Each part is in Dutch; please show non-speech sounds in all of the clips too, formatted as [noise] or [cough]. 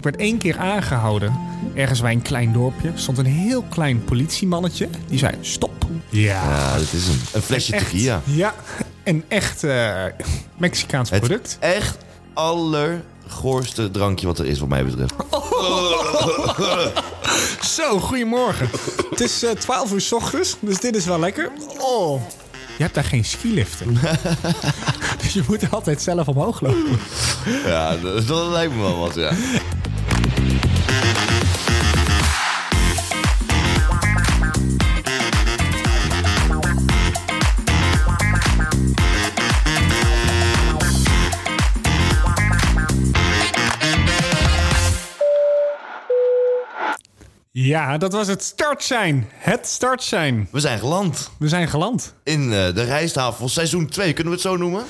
Ik werd één keer aangehouden. Ergens bij een klein dorpje stond een heel klein politiemannetje. Die zei: Stop. Ja. Ja, dat is hem. Een flesje Echt. tequila. Ja, een echt eh, Mexicaans Het product. echt allergoorste drankje wat er is, wat mij betreft. Zo, goedemorgen. het is eh, 12 uur s ochtends, dus dit is wel lekker. Oh. Je hebt daar geen skiliften. dus je moet altijd zelf omhoog lopen. Ja, dat, dat lijkt me wel wat, ja. Ja, dat was het startsein. Het startsein. We zijn geland We zijn geland. in eh, de rijsttafel seizoen 2, kunnen we het zo noemen?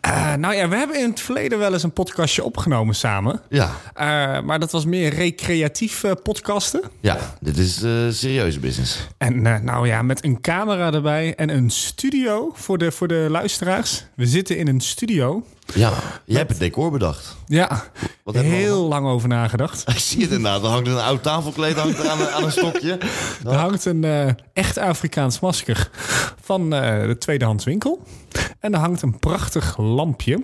Eh, nou ja, we hebben in het verleden wel eens een podcastje opgenomen samen. Ja, Eh, maar dat was meer recreatief eh, podcasten. ja dit is eh, serieuze business. En eh, nou ja, met een camera erbij en een studio voor de, voor de luisteraars. We zitten in een studio. Ja, je hebt het decor bedacht. Ja, Wat hebben we heel lang over nagedacht. [laughs] Ik zie het inderdaad, er hangt een oud tafelkleed hangt er aan, een- aan een stokje. Er hangt een eh, echt Afrikaans masker van eh, de tweedehands winkel. En er hangt een prachtig lampje.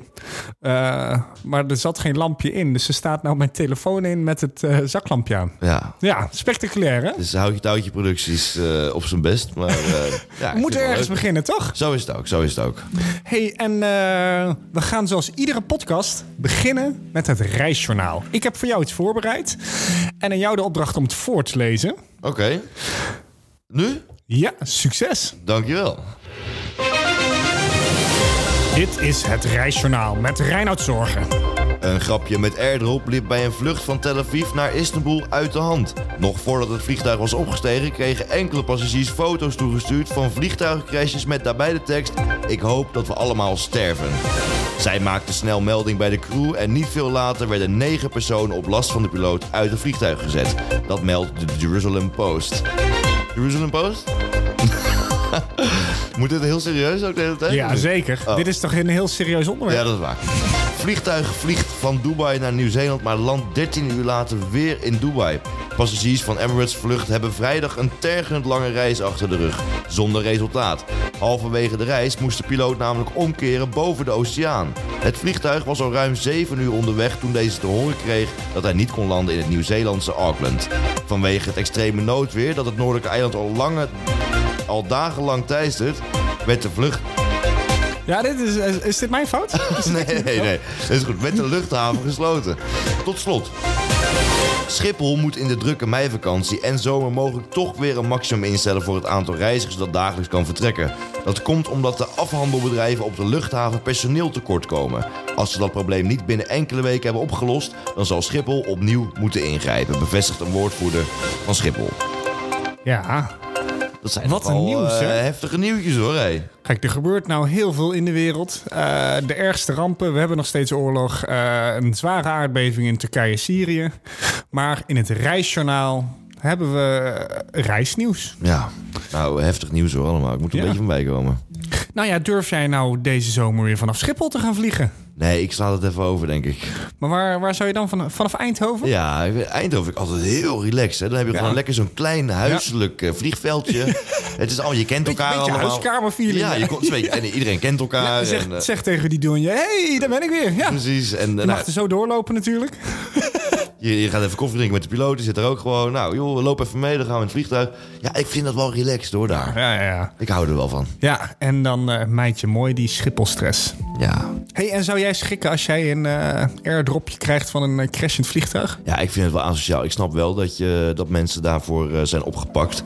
Eh, maar er zat geen lampje in, dus er staat nou mijn telefoon in met het eh, zaklampje aan. Ja, Ja, spectaculair hè? dus houd je touwtje producties eh, op zijn best. Maar, eh, ja, We ik vind het moeten wel ergens leuk. beginnen, toch? Zo is het ook, zo is het ook. Hey, en eh, we gaan zoals iedere podcast beginnen met het reisjournaal. Ik heb voor jou iets voorbereid en aan jou de opdracht om het voor te lezen. Oké. Nu? Ja, succes! Dankjewel. Dit is het reisjournaal met Reinoud Zorgen. Een grapje met airdrop liep bij een vlucht van Tel Aviv naar Istanbul uit de hand. Nog voordat het vliegtuig was opgestegen, kregen enkele passagiers foto's toegestuurd van vliegtuigcrashes met daarbij de tekst: Ik hoop dat we allemaal sterven. Zij maakten snel melding bij de crew en niet veel later werden negen personen op last van de piloot uit het vliegtuig gezet. Dat meldt de Jerusalem Post. Jerusalem Post? [laughs] Moet dit heel serieus ook de hele tijd? Ja, zeker. Oh. Dit is toch een heel serieus onderwerp? Ja, dat is waar. Vliegtuig vliegt van Dubai naar Nieuw-Zeeland, maar landt 13 uur later weer in Dubai. Passagiers van Emirates Vlucht hebben vrijdag een tergend lange reis achter de rug, zonder resultaat. Halverwege de reis moest de piloot namelijk omkeren boven de oceaan. Het vliegtuig was al ruim 7 uur onderweg toen deze te horen kreeg dat hij niet kon landen in het Nieuw-Zeelandse Auckland. Vanwege het extreme noodweer dat het noordelijke eiland al, lange, al dagenlang teistert, werd de vlucht Ja, dit is, is, is dit mijn fout? [laughs] Nee, nee, nee. Dat is goed. Met de luchthaven gesloten. Tot slot. Schiphol moet in de drukke meivakantie en zomer mogelijk toch weer een maximum instellen voor het aantal reizigers dat dagelijks kan vertrekken. Dat komt omdat de afhandelbedrijven op de luchthaven personeel tekort komen. Als ze dat probleem niet binnen enkele weken hebben opgelost, dan zal Schiphol opnieuw moeten ingrijpen, bevestigt een woordvoerder van Schiphol. Ja. Dat zijn Wat een nogal, nieuws, eh, hè? heftige nieuwtjes hoor, hé. Kijk, er gebeurt nou heel veel in de wereld. Eh, de ergste rampen, we hebben nog steeds oorlog. Eh, een zware aardbeving in Turkije, Syrië. Maar in het reisjournaal hebben we eh, reisnieuws. Ja, nou heftig nieuws hoor allemaal. Ik moet er Ja. een beetje van bij komen. Nou ja, durf jij nou deze zomer weer vanaf Schiphol te gaan vliegen? Nee, ik sla dat even over, denk ik. Maar waar, waar zou je dan van, vanaf Eindhoven? Ja, ik vind Eindhoven vind ik altijd heel relaxed. Hè. Dan heb je gewoon lekker zo'n klein huiselijk eh, vliegveldje. [laughs] Het is al, je kent elkaar beetje allemaal. huiskamerfeeling. Ja, je komt, en iedereen kent elkaar. zeg, en, eh, zeg tegen die douanier, hé, hey, daar ben ik weer. Ja. Je Precies. En eh, nou, mag dus- er zo doorlopen natuurlijk. je, je gaat even koffie drinken met de piloot. Die zit er ook gewoon. Nou, joh, loop even mee. Dan gaan we in het vliegtuig. Ja, ik vind dat wel relaxed hoor, daar. Ja, ja, ja. Ik hou er wel van. Ja, en dan eh meidje mooi, die Schiphol-stress. Ja. hey, en zou jij schrikken als jij een eh, airdropje krijgt van een eh, crashend vliegtuig? Ja, ik vind het wel asociaal. Ik snap wel dat, je, dat mensen daarvoor eh, zijn opgepakt.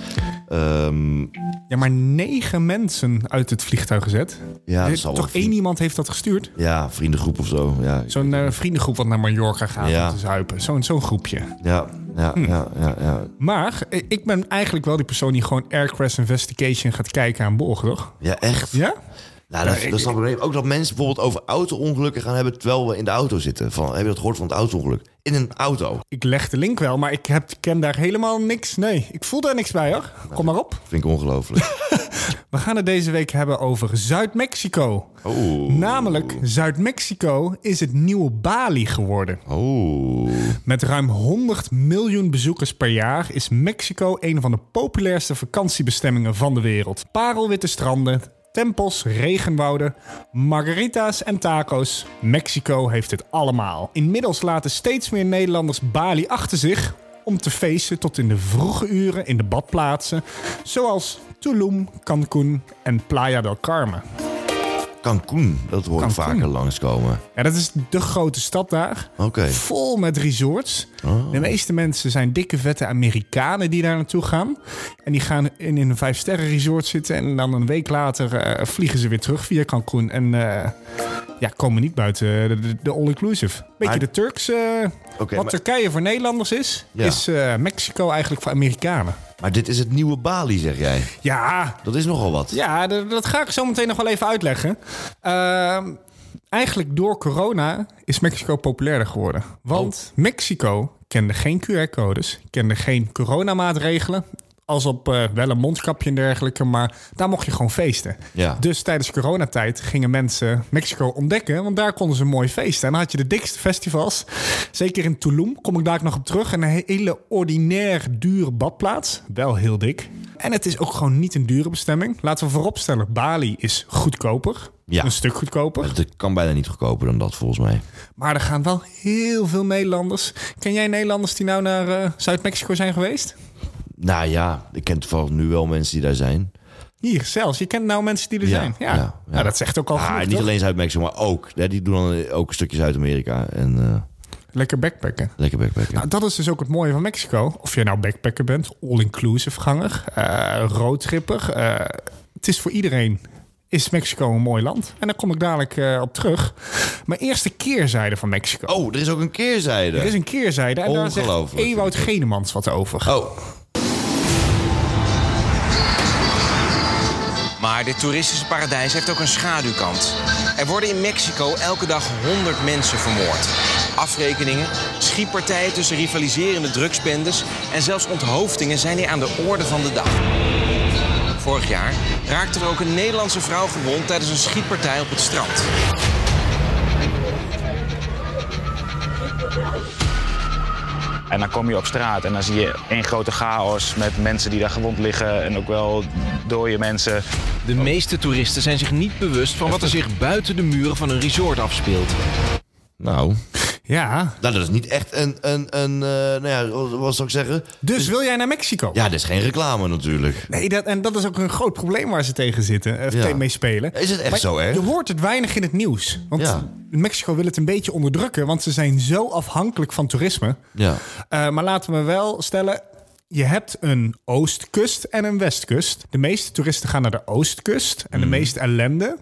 Ehm, Ja, maar negen mensen uit het vliegtuig gezet. ja, Er- dat zal wel Toch één iemand heeft dat gestuurd? Ja, vriendengroep of zo. Ja, Zo'n eh, vriendengroep wat naar Mallorca gaat Ja. om te zuipen. Zo'n zo'n groepje. ja, ja, ja, ja, ja. Maar eh, ik ben eigenlijk wel die persoon die gewoon Aircrash Investigation gaat kijken aan boord, toch? Ja, echt. Ja? Nou, dat, dat snap ik niet. Ook dat mensen bijvoorbeeld over auto-ongelukken gaan hebben terwijl we in de auto zitten. Van, heb je dat gehoord van het auto-ongeluk? In een auto. Ik leg de link wel, maar ik heb, ken daar helemaal niks. Nee, ik voel daar niks bij hoor. Kom maar op. [laughs] Vind ik ongelooflijk. We gaan het deze week hebben over Zuid-Mexico. Oeh. Oh, Namelijk, Zuid-Mexico is het nieuwe Bali geworden. Oeh. Met ruim 100 miljoen bezoekers per jaar is Mexico een van de populairste vakantiebestemmingen van de wereld. Parelwitte stranden, tempels, regenwouden, margarita's en taco's. Mexico heeft het allemaal. Inmiddels laten steeds meer Nederlanders Bali achter zich om te feesten tot in de vroege uren in de badplaatsen, zoals Tulum, Cancun en Playa del Carmen. Cancun, dat hoor ik Cancun. vaker langskomen. Ja, dat is de grote stad daar. Oké. Vol met resorts. Oh. De meeste mensen zijn dikke, vette Amerikanen die daar naartoe gaan. En die gaan in, in een vijfsterren resort zitten. En dan een week later eh, vliegen ze weer terug via Cancun. En eh, ja, komen niet buiten de, de, de all-inclusive. Beetje Maar- de Turkse... Oké, wat maar- Turkije voor Nederlanders is, Ja. is eh, Mexico eigenlijk voor Amerikanen. Maar dit is het nieuwe Bali, zeg jij. Ja, Dat is nogal wat. ja, d- dat ga ik zo meteen nog wel even uitleggen. Ehm, eigenlijk door corona is Mexico populairder geworden. Oh. Want Mexico kende geen QR-codes, kende geen coronamaatregelen. Als op eh, wel een mondkapje en dergelijke, maar daar mocht je gewoon feesten. Ja. Dus tijdens coronatijd gingen mensen Mexico ontdekken, want daar konden ze mooi feesten. En dan had je de dikste festivals. Zeker in Tulum, kom ik daar ook nog op terug. Een hele ordinair dure badplaats. Wel heel dik. En het is ook gewoon niet een dure bestemming. Laten we vooropstellen, Bali is goedkoper. Ja. Een stuk goedkoper. Het kan bijna niet goedkoper dan dat, volgens mij. Maar er gaan wel heel veel Nederlanders. Ken jij Nederlanders die nou naar eh, Zuid-Mexico zijn geweest? Nou ja, ik ken toevallig nu wel mensen die daar zijn. Hier zelfs. Je kent nou mensen die er Ja, zijn. Ja. ja, ja. Nou, dat zegt ook al Ah, genoeg, niet toch? alleen Zuid-Mexico, maar ook. Hè, die doen dan ook een stukje Zuid-Amerika en eh, Lekker backpacken. lekker backpacken. Nou, dat is dus ook het mooie van Mexico. Of je nou backpacker bent, all-inclusive ganger, eh roadtripper. eh, het is voor iedereen is Mexico een mooi land. En daar kom ik dadelijk eh, op terug. Maar eerst de keerzijde van Mexico. oh, er is ook een keerzijde. Er is een keerzijde en daar zegt Ongelooflijk. Ewout Genemans wat over. Oh, Maar dit toeristische paradijs heeft ook een schaduwkant. Er worden in Mexico elke dag 100 mensen vermoord. Afrekeningen, schietpartijen tussen rivaliserende drugsbendes en zelfs onthoofdingen zijn hier aan de orde van de dag. Vorig jaar raakte er ook een Nederlandse vrouw gewond tijdens een schietpartij op het strand. En dan kom je op straat en dan zie je één grote chaos met mensen die daar gewond liggen en ook wel dode mensen. De meeste toeristen zijn zich niet bewust van wat er zich buiten de muren van een resort afspeelt. nou. Ja, Nou, dat is niet echt een, een, een eh, nou ja, wat- wat zou ik zeggen? dus wil jij naar Mexico? Ja, dit is geen reclame natuurlijk. Nee, dat, en dat is ook een groot probleem waar ze tegen zitten, eh, Ja. tegen mee spelen. Is het echt zo erg? Je hoort het weinig in het nieuws. Want Ja. Mexico wil het een beetje onderdrukken, want ze zijn zo afhankelijk van toerisme. Ja. Eh, maar laten we wel stellen. Je hebt een oostkust en een westkust. De meeste toeristen gaan naar de oostkust. En de Hmm. meeste ellende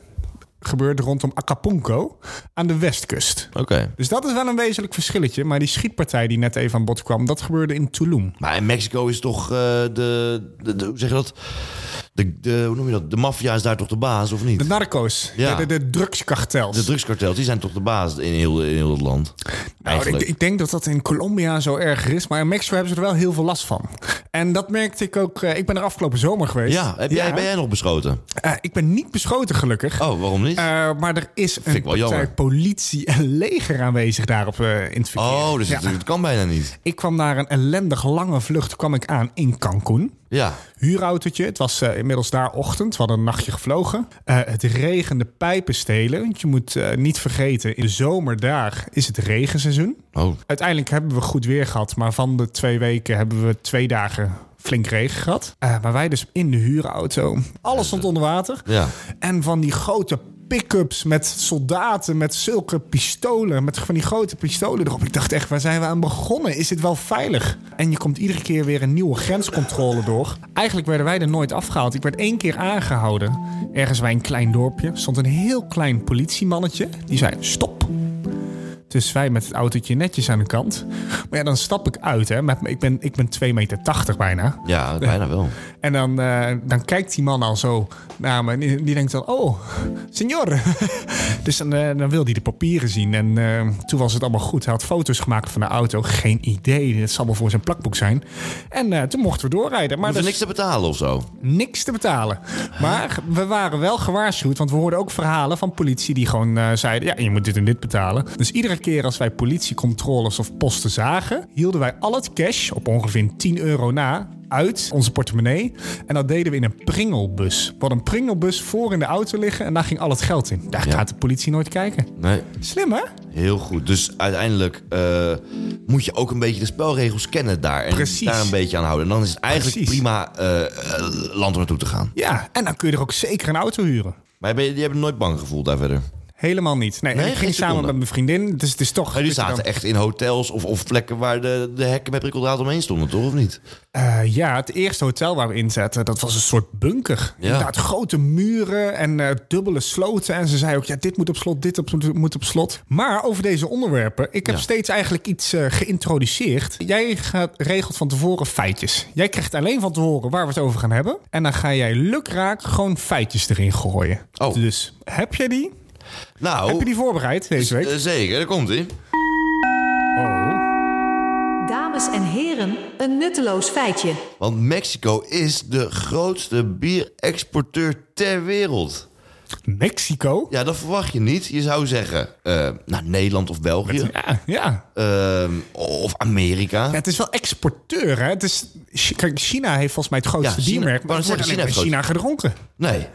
gebeurt rondom Acapulco aan de westkust. Oké. Dus dat is wel een wezenlijk verschilletje. Maar die schietpartij die net even aan bod kwam, dat gebeurde in Tulum. Maar in Mexico is toch eh, de, de, de- hoe zeg je dat? De, de, hoe noem je dat? De maffia is daar toch de baas, of niet? De narco's, Ja. de, de, de drugskartels. De drugskartels, die zijn toch de baas in heel, in heel het land? Nou, ik, Eigenlijk. ik denk dat dat in Colombia zo erger is. Maar in Mexico hebben ze er wel heel veel last van. En dat merkte ik ook. eh, ik ben er afgelopen zomer geweest. ja, heb jij, ben jij nog beschoten? Eh, ik ben niet beschoten, gelukkig. Oh, waarom niet? Eh, maar er is ik een wel jammer. partij politie en leger aanwezig daarop eh, in het verkeer. oh, dus Ja. het, het kan bijna niet. Ik kwam naar een ellendig lange vlucht kwam ik aan in Cancun. Ja. Huurautootje. Het was eh, inmiddels daar ochtend. We hadden een nachtje gevlogen. Eh, het regende pijpenstelen. Want je moet eh, niet vergeten, in de zomer daar is het regenseizoen. Oh, Uiteindelijk hebben we goed weer gehad. Maar van de twee weken hebben we twee dagen flink regen gehad. Eh, maar wij dus in de huurauto. Alles stond onder water. ja. En van die grote pick-ups met soldaten, met zulke pistolen, met van die grote pistolen erop. Ik dacht echt, waar zijn we aan begonnen? Is dit wel veilig? En je komt iedere keer weer een nieuwe grenscontrole door. Eigenlijk werden wij er nooit afgehaald. Ik werd één keer aangehouden. Ergens bij een klein dorpje stond een heel klein politiemannetje. Die zei, stop. Dus wij met het autootje netjes aan de kant. Maar ja, dan stap ik uit. Hè. Met, ik, ben, ik ben 2,80 meter bijna. Ja, bijna wel. En dan, eh, dan kijkt die man al zo naar me. En die, die denkt dan, oh, senor. [laughs] dus dan, eh, dan wil hij de papieren zien. En eh, toen was het allemaal goed. Hij had foto's gemaakt van de auto. Geen idee. Dat zal wel voor zijn plakboek zijn. En eh, toen mochten we doorrijden. Maar Maar er dat is is niks te betalen of zo. niks te betalen. Maar we waren wel gewaarschuwd, want we hoorden ook verhalen van politie die gewoon eh, zeiden: ja, je moet dit en dit betalen. Dus iedere keer als wij politiecontroles of posten zagen, hielden wij al het cash op ongeveer 10 euro na. Uit onze portemonnee. En dat deden we in een pringelbus. We hadden een pringelbus voor in de auto liggen en daar ging al het geld in. Daar Ja. gaat de politie nooit kijken. Nee, Slim hè? heel goed. Dus uiteindelijk eh, moet je ook een beetje de spelregels kennen daar. En Precies. daar een beetje aan houden. En dan is het eigenlijk Precies. prima eh, eh, land om naartoe te gaan. Ja, en dan kun je er ook zeker een auto huren. Maar ben je, die hebben nooit bang gevoeld daar verder. Helemaal niet. Nee, en Nee, ik geen ging samen seconde. met mijn vriendin. Dus het is toch. Maar jullie dat je dan- zaten echt in hotels of, of plekken waar de, de hekken met prikkeldraad omheen stonden, toch? Of niet? Eh, ja, het eerste hotel waar we in zaten, dat was een soort bunker. Ja. Inderdaad, grote muren en eh, dubbele sloten. En ze zei ook, ja, dit moet op slot, dit op, moet op slot. Maar over deze onderwerpen, ik heb Ja. steeds eigenlijk iets eh, geïntroduceerd. Jij gaat, regelt van tevoren feitjes. Jij krijgt alleen van tevoren waar we het over gaan hebben. En dan ga jij lukraak gewoon feitjes erin gooien. Oh. Dus heb jij die? Nou, Heb je die voorbereid deze week? Oh. eh, zeker. Daar komt ie. eh, Dames en heren, een nutteloos feitje. Want Mexico is de grootste bierexporteur ter wereld. Mexico? Ja, dat verwacht je niet. Je zou zeggen, eh nou, Nederland of België. Ja, ja. ehm, of Amerika. Ja, het is wel exporteur, hè? Het is, Chi- kijk, China heeft volgens mij het grootste Ja, China- biermerk. wou Maar net het wordt alleen zeggen, maar in China China gedronken. Nee.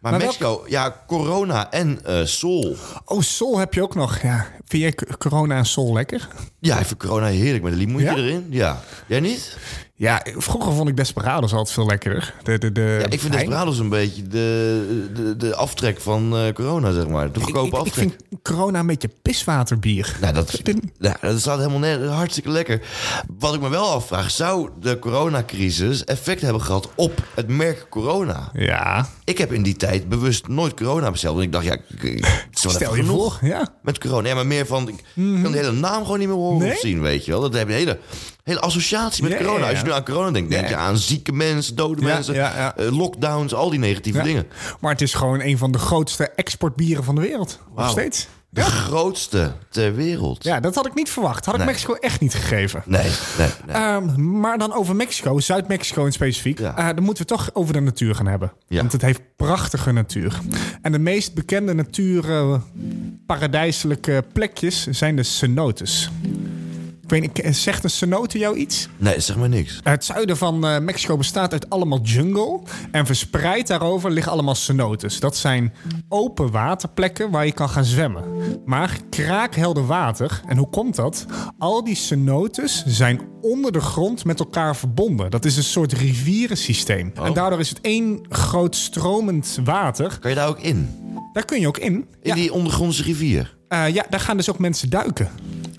Maar, Maar Mexico, ja, corona en eh sol. Oh, Sol heb je ook nog. Ja. Vind jij c- corona en Sol lekker? Ja, ik vind corona heerlijk met een limoentje Ja? erin. Ja. Jij niet? Ja, vroeger vond ik Desperados altijd veel lekkerder. De, de, de, Ja, ik vind Desperados een beetje de, de, de aftrek van eh, corona, zeg maar. De ik, goedkope ik, ik aftrek. vind corona een beetje piswaterbier. Nou, dat, ja, dat staat helemaal net hartstikke lekker. Wat ik me wel afvraag, zou de coronacrisis effect hebben gehad op het merk corona? Ja, Ik heb in die tijd bewust nooit corona besteld. Want ik dacht, ja, ik- ik- het is wel stel even je genoeg voor. Ja. met corona. Ja, maar meer van, ik kan de hele naam gewoon niet meer horen Mhm. Nee? of zien, weet je wel. Dat heb je een hele, hele associatie met Ja, corona. ja, ja. Als je nu aan corona denkt, denk je aan zieke mensen, dode Ja, mensen, ja, ja. eh, lockdowns, al die negatieve Ja. dingen. Maar het is gewoon een van de grootste exportbieren van de wereld. Nog Wauw. steeds. De grootste ter wereld. Ja, dat had ik niet verwacht. Had ik Nee. Mexico echt niet gegeven. Nee, nee, nee. Ehm, maar dan over Mexico, Zuid-Mexico in specifiek. Ja. Eh, dan moeten we toch over de natuur gaan hebben. Ja. Want het heeft prachtige natuur. En de meest bekende natuur, eh, paradijselijke plekjes zijn de cenotes. Ik weet niet, eh, zegt een cenote jou iets? nee, zeg maar niks. Het zuiden van eh, Mexico bestaat uit allemaal jungle. En verspreid daarover liggen allemaal cenotes. Dat zijn open waterplekken waar je kan gaan zwemmen. Maar kraakhelder water. En hoe komt dat? Al die cenotes zijn onder de grond met elkaar verbonden. Dat is een soort rivierensysteem. En daardoor is het één groot stromend water. Kan je daar ook in? In Daar kun je ook in. Ja, die ondergrondse rivier? eh, ja, daar gaan dus ook mensen duiken.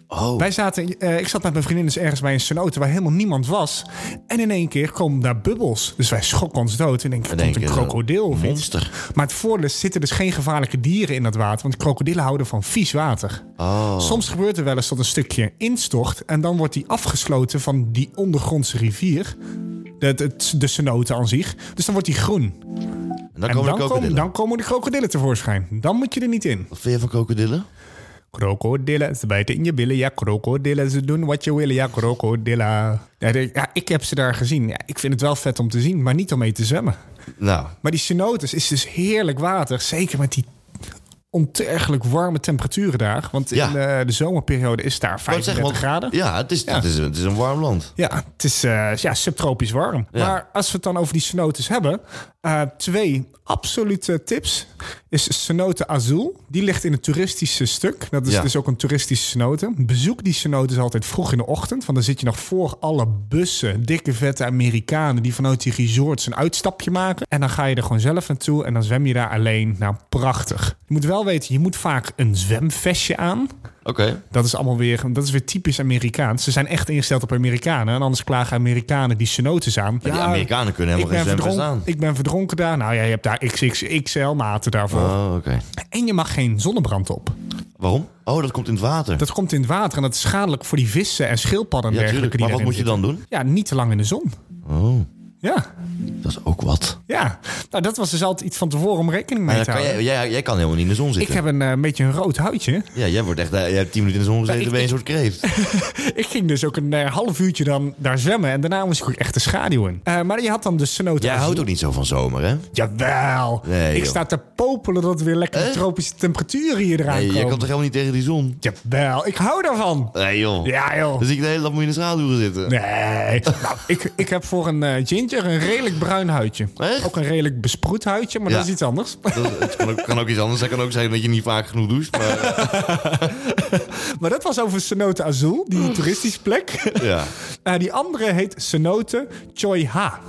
Oh. Wij zaten, eh, ik zat met mijn vriendin dus ergens bij een cenote waar helemaal niemand was. En in één keer komen daar bubbels. Dus wij schrokken ons dood. En denken, er In één komt een keer een krokodil of iets. monster. Maar het voordeel is, zitten dus geen gevaarlijke dieren in dat water. Want krokodillen houden van vies water. Oh. Soms gebeurt er wel eens dat een stukje instort. En dan wordt die afgesloten van die ondergrondse rivier. De, de, de cenote aan zich. Dus dan wordt die groen. En en dan, dan komen de komen, krokodillen. dan komen de krokodillen tevoorschijn. Dan moet je er niet in. Wat vind je van krokodillen? Krokodillen, ze bijten in je billen. Ja, krokodillen, ze doen wat je wil. Ja, krokodillen. Ja, de- ja, ik heb ze daar gezien. Ja, ik vind het wel vet om te zien, maar niet om mee te zwemmen. Nou, Maar die cenotes is dus heerlijk water. Zeker met die ontergelijk warme temperaturen daar. Want Ja. in eh, de zomerperiode is daar wat zeg 35 graden. Ja, het is, Ja. Het, is, het is een warm land. Ja, het is eh, ja, subtropisch warm. Ja. Maar als we het dan over die cenotes hebben. eh, twee absolute tips. Is cenote azul. Die ligt in het toeristische stuk. Dat is Ja. dus ook een toeristische cenote. Bezoek die cenotes altijd vroeg in de ochtend. Want dan zit je nog voor alle bussen. Dikke vette Amerikanen die vanuit die resorts een uitstapje maken. En dan ga je er gewoon zelf naartoe. En dan zwem je daar alleen. Nou, prachtig. Je moet wel weten, je moet vaak een zwemvestje aan. Oké. Dat is allemaal weer, dat is weer typisch Amerikaans. Ze zijn echt ingesteld op Amerikanen. En anders klagen Amerikanen die cenotes aan. Maar die Amerikanen kunnen ik helemaal ben, geen zwemvest verdronken, aan. ik ben verdronken daar. Nou ja, je hebt daar XXXL maten daarvoor. Oh, oké. En je mag geen zonnebrand op. Waarom? Oh, dat komt in het water. Dat komt in het water en dat is schadelijk voor die vissen en schildpadden en ja, dergelijke. tuurlijk. die Maar wat moet je daarin dan doen? zitten. Ja, niet te lang in de zon. Oh, Ja, dat is ook wat. ja. Nou, dat was dus altijd iets van tevoren om rekening mee Maar te dan kan houden. jij, jij, jij kan helemaal niet in de zon Ik zitten. heb een, eh, een beetje een rood huidje. [laughs] Ja, jij wordt echt... eh, Jij hebt tien minuten in de zon gezeten, ik- ben je een soort [laughs] kreeft. Ik ging dus ook een eh, half uurtje dan daar zwemmen. En daarna moest ik ook echt de schaduw in. Eh, maar je had dan dus snoot. Jij houdt ook niet zo van zomer, hè? Jawel. Nee, ik joh. sta te popelen dat we weer lekker de Eh? tropische temperaturen hier eraan Nee, jij kan komen. toch helemaal niet tegen die zon? Jawel, ik hou daarvan. Nee, joh. Ja joh. Dus ik de hele dag moet je in de schaduw gaan zitten. Nee. Nou, ik, ik heb voor een eh, ginger een redelijk bruin huidje. Echt? Ook een redelijk besproet huidje, maar Ja. dat is iets anders. [laughs] Dat, het kan ook, kan ook iets anders. Dat kan ook zijn dat je niet vaak genoeg [laughs] doucht. Maar, maar dat was over Cenote Azul, die toeristische [laughs] plek. ja. Eh, die andere heet Cenote Choi Ha.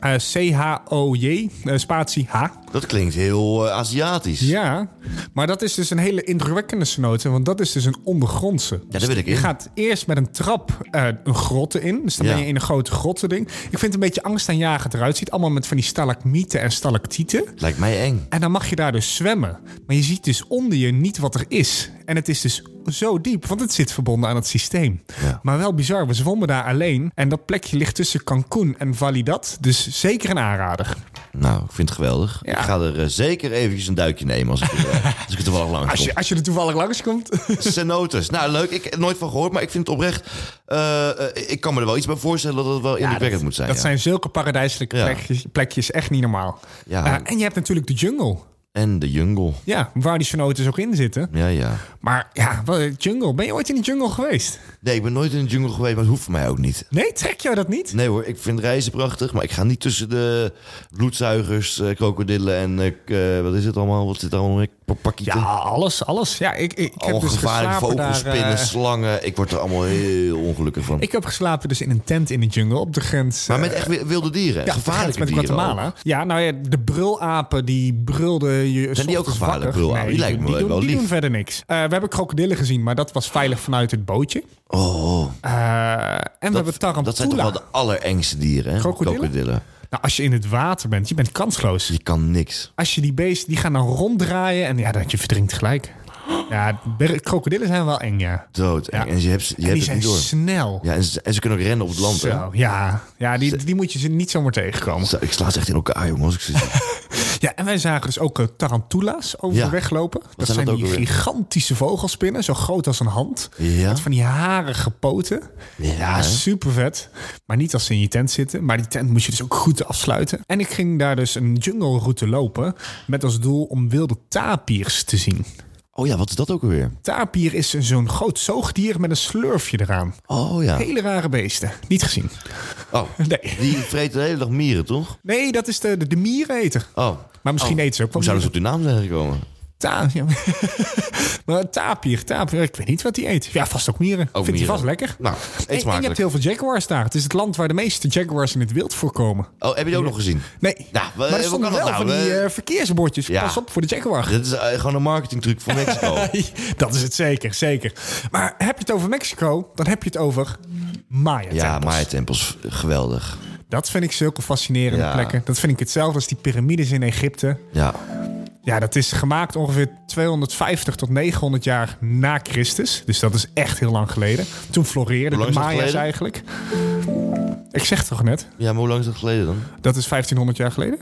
Eh, C-H-O-J, eh, spatie H. Dat klinkt heel eh, Aziatisch. Ja, maar dat is dus een hele indrukwekkende cenote, want dat is dus een ondergrondse. Dus daar wil ik Je in. gaat eerst met een trap eh, een grotte in, dus dan Ja. ben je in een grote grotte ding. Ik vind het een beetje angstaanjagend eruit ziet, allemaal met van die stalagmieten en stalactieten. Lijkt mij eng. En dan mag je daar dus zwemmen. Maar je ziet dus onder je niet wat er is. En het is dus zo diep, want het zit verbonden aan het systeem. Ja. Maar wel bizar, we zwommen daar alleen. En dat plekje ligt tussen Cancun en Validad. Dus zeker een aanrader. Nou, ik vind het geweldig. Ja. Ik ga er eh, zeker eventjes een duikje nemen als ik, eh, [laughs] als ik er toevallig langs Als kom. je, als je er toevallig langskomt. Cenotes. Nou, leuk. Ik heb nooit van gehoord, maar ik vind het oprecht... eh, eh, ik kan me er wel iets bij voorstellen dat het wel indrukwekkend moet zijn. Dat ja. zijn zulke paradijselijke Ja. plekjes, plekjes, echt niet normaal. Ja. Eh, en je hebt natuurlijk de jungle. En de jungle. Ja, waar die cenotes ook in zitten. Ja, ja. Maar ja, wel, jungle. Ben je ooit in de jungle geweest? Nee, ik ben nooit in de jungle geweest, maar het hoeft voor mij ook niet. Nee, trek jou dat niet? Nee hoor, ik vind reizen prachtig, maar ik ga niet tussen de bloedzuigers, eh, krokodillen en eh, k- eh, wat is het allemaal? Wat zit er allemaal in? Ja, Pakkieten? alles, alles. Ja, ik, ik, ik heb Allemaal dus gevaarlijke geslapen vogels, daar... eh, spinnen, slangen. Ik word er allemaal heel ongelukkig van. ik heb geslapen dus in een tent in de jungle op de grens... maar eh, met echt wi- wilde dieren. ja, op de grens gevaarlijke met dieren. Guatemala. ook. Ja, nou ja, de brulapen die brulden je. Zijn die ook ochtends gevaarlijk, wakker. brulapen? Die lijken me doen, wel Die lief. doen verder niks. Eh, we hebben krokodillen gezien, maar dat was veilig vanuit het bootje. Oh, Eh, en we dat, hebben tarantula. dat zijn toch wel de allerengste dieren, hè? Krokodillen? Nou, als je in het water bent, je bent kansloos. Je kan niks. Als je die beesten, die gaan dan ronddraaien en ja, dat je verdrinkt gelijk. Ja, ber- krokodillen zijn wel eng, ja. Dood. Ja. En je hebt, ze- je En die hebt het zijn niet door. snel. Ja, en, ze, en ze kunnen ook rennen op het land. hè? Zo, ja, ja die, die moet je ze niet zomaar tegenkomen. Zo, Ik sla ze echt in elkaar, jongens. Ik [laughs] zie- Ja, en wij zagen dus ook eh, tarantula's overweg lopen. Dat zijn zijn, dat die ook alweer? gigantische vogelspinnen, zo groot als een hand. Ja. Met van die harige poten. Ja, hè? Ja, super vet. Maar niet als ze in je tent zitten. Maar die tent moest je dus ook goed afsluiten. En ik ging daar dus een jungle route lopen. Met als doel om wilde tapirs te zien. Oh ja, wat is dat ook alweer? Tapier is zo'n groot zoogdier met een slurfje eraan. Oh ja. Hele rare beesten. Niet gezien. Oh, Nee. die vreten de hele dag mieren, toch? Nee, dat is de, de, de miereneter. Oh. Maar misschien eten ze ook wel Hoe zouden ze mieren. op die naam zijn gekomen? Ta ja. [laughs] maar een tapier, tapier, ik weet niet wat die eet. Ja, vast ook mieren. Vindt hij mieren. vast lekker. Nou, En- eet en, je hebt smakelijk. heel veel jaguars daar. Het is het land waar de meeste jaguars in het wild voorkomen. Oh, heb je die ook nog gezien? Nee, Nou, maar er eh, stonden hoe wel kan van dat nou? die Eh, eh, verkeersbordjes. ja. Pas op voor de jaguar. Dit is eh, gewoon een marketingtruc van Mexico. [laughs] Dat is het zeker, zeker. Maar heb je het over Mexico, dan heb je het over Maya. ja, tempels. Maya tempels, geweldig. Dat vind ik zulke fascinerende Ja. plekken. Dat vind ik hetzelfde als die piramides in Egypte. Ja, Ja, dat is gemaakt ongeveer 250 tot 900 jaar na Christus. Dus dat is echt heel lang geleden. Toen floreerden Hoe de lang is dat Maya's geleden? eigenlijk. Ik zeg het toch net? ja maar hoe lang is dat geleden dan? Dat is 1500 jaar geleden?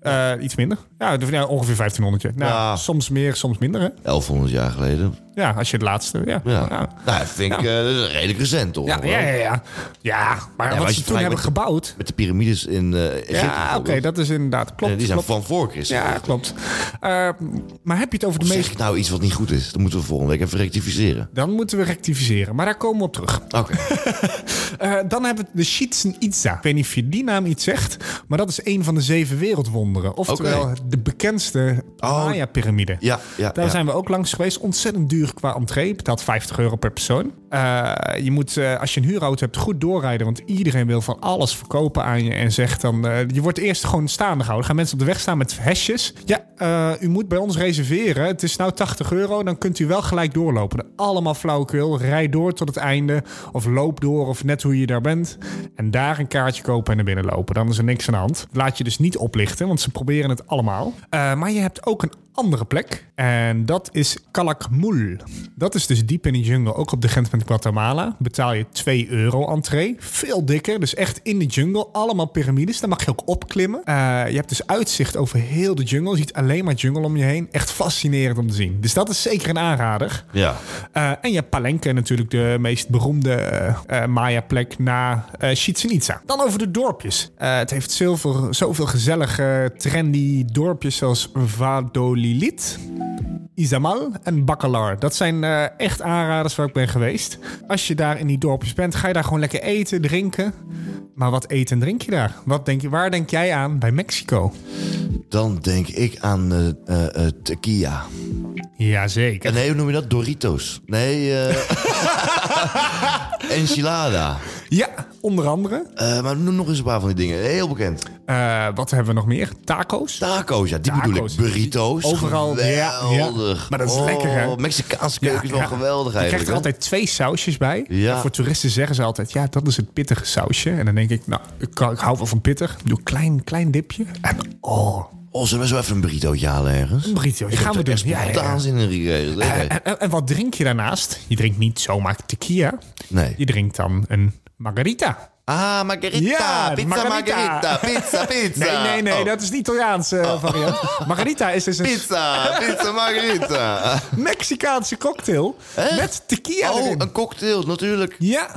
Eh, iets minder. Ja, d- ja, ongeveer 1500 jaar. Nou, Ja. soms meer, soms minder. Hè? 1100 jaar geleden. Ja, als je het laatste... Ja, Ja. ja. Nou, dat vind ik eh, dat is redelijk recent, toch? ja, ja, ja, ja. Ja, maar maar wat ze als je toen het vergelijkt hebben met- gebouwd... Met de piramides in eh Egypte. Ja, oké, bijvoorbeeld. dat is inderdaad... Klopt, Eh, Die zijn klopt. van voor Christus. Ja, klopt. Eh, maar heb je het over de Of meest... Zeg ik nou iets wat niet goed is? Dan moeten we volgende week even rectificeren. Dan moeten we rectificeren, maar daar komen we op [laughs] terug. Oké. Eh, dan hebben we de Chichen Itza. Ik weet niet of je die naam iets zegt, maar dat is een van de zeven wereldwonderen. Oftewel Oké. Oh. de bekendste Maya-pyramide. Ja, ja, Daar ja. zijn we ook langs geweest. Ontzettend duur qua entree. Je Betaalt 50 euro per persoon. Eh, je moet, eh, als je een huurauto hebt, goed doorrijden. Want iedereen wil van alles verkopen aan je. En zegt dan, eh, je wordt eerst gewoon staande gehouden. Gaan mensen op de weg staan met hesjes. Ja, eh, u moet bij ons reserveren. Het is nou 80 euro. Dan kunt u wel gelijk doorlopen. Allemaal flauwekul. Rijd door tot het einde. Of loop door. Of net hoe je daar bent. En daar een kaartje kopen en naar binnen lopen. Dan is er niks aan de hand. Laat je dus niet oplichten. Want ze proberen het allemaal. Eh, maar je hebt ook een andere plek. En dat is Calakmul. Dat is dus diep in de jungle, ook op de grens met Guatemala. Betaal je 2 euro entree. Veel dikker, dus echt in de jungle. Allemaal piramides, daar mag je ook opklimmen. Eh, je hebt dus uitzicht over heel de jungle. Je ziet alleen maar jungle om je heen. Echt fascinerend om te zien. Dus dat is zeker een aanrader. Ja. Eh, en je hebt Palenque natuurlijk de meest beroemde eh, eh, Maya-plek na eh Chichen Itza. Dan over de dorpjes. Eh, het heeft zoveel, zoveel gezellige, trendy dorpjes zoals Vadolilit. Izamal en Bacalar. Dat zijn eh, echt aanraders waar ik ben geweest. Als je daar in die dorpjes bent, ga je daar gewoon lekker eten, drinken. Maar wat eet en drink je daar? Wat denk je, waar denk jij aan bij Mexico? Dan denk ik aan eh eh, eh, tequila. Jazeker. En nee, hoe noem je dat? Doritos. Nee, [laughs] eh [laughs] enchilada. Ja, onder andere. Eh, maar noem nog eens een paar van die dingen. Heel bekend. Eh, wat hebben we nog meer? Tacos. Tacos, ja, die Tacos. bedoel ik. Burritos. Overal, ja, ja. Geweldig. Oh, Maar dat is lekker, hè? Mexicaanse keuken is wel Ja, ja. geweldig Je krijgt eigenlijk. er altijd twee sausjes bij. Ja. En voor toeristen zeggen ze altijd, ja, dat is het pittige sausje. En dan denk ik, nou, ik, kan- ik hou wel van pittig. Doe een klein, klein dipje. En oh, hè? Oh, zullen we zo even een burritootje halen ergens? een burrito. Die gaan we doen. Ja, Eh, ja, ja. Spontaan zin in gekregen. En, Lekker. en- en wat drink je daarnaast? Je drinkt niet zomaar tequila. Nee. Je drinkt dan een margarita. Ah, margarita. Ja, pizza margarita. [laughs] margarita. Pizza, pizza. Nee, nee, nee, Oh, dat is de Italiaanse eh, variant. [laughs] Margarita is dus een Pizza, pizza [laughs] margarita. Mexicaanse cocktail met tequila oh, erin. een cocktail, natuurlijk. Ja,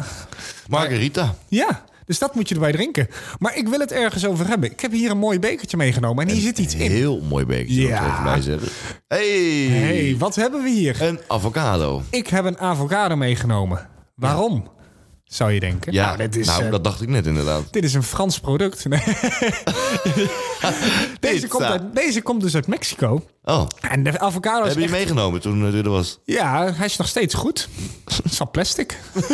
Margarita. Ja, dus dat moet je erbij drinken. Maar ik wil het ergens over hebben. Ik heb hier een mooi bekertje meegenomen en hier zit iets in. Heel mooi bekertje, Ja. ja. even bij zeggen. Hey. hey, wat hebben we hier? Een avocado. Ik heb een avocado meegenomen. Waarom? Zou je denken? Ja, Nou, dit is, eh, dat dacht ik net inderdaad. dit is een Frans product. [laughs] [laughs] Nee. deze, Pizza. komt uit, deze komt dus uit Mexico. Oh, En de avocado is heb je echt... meegenomen toen het er was? Ja, hij is nog steeds goed. Het is al plastic. [laughs]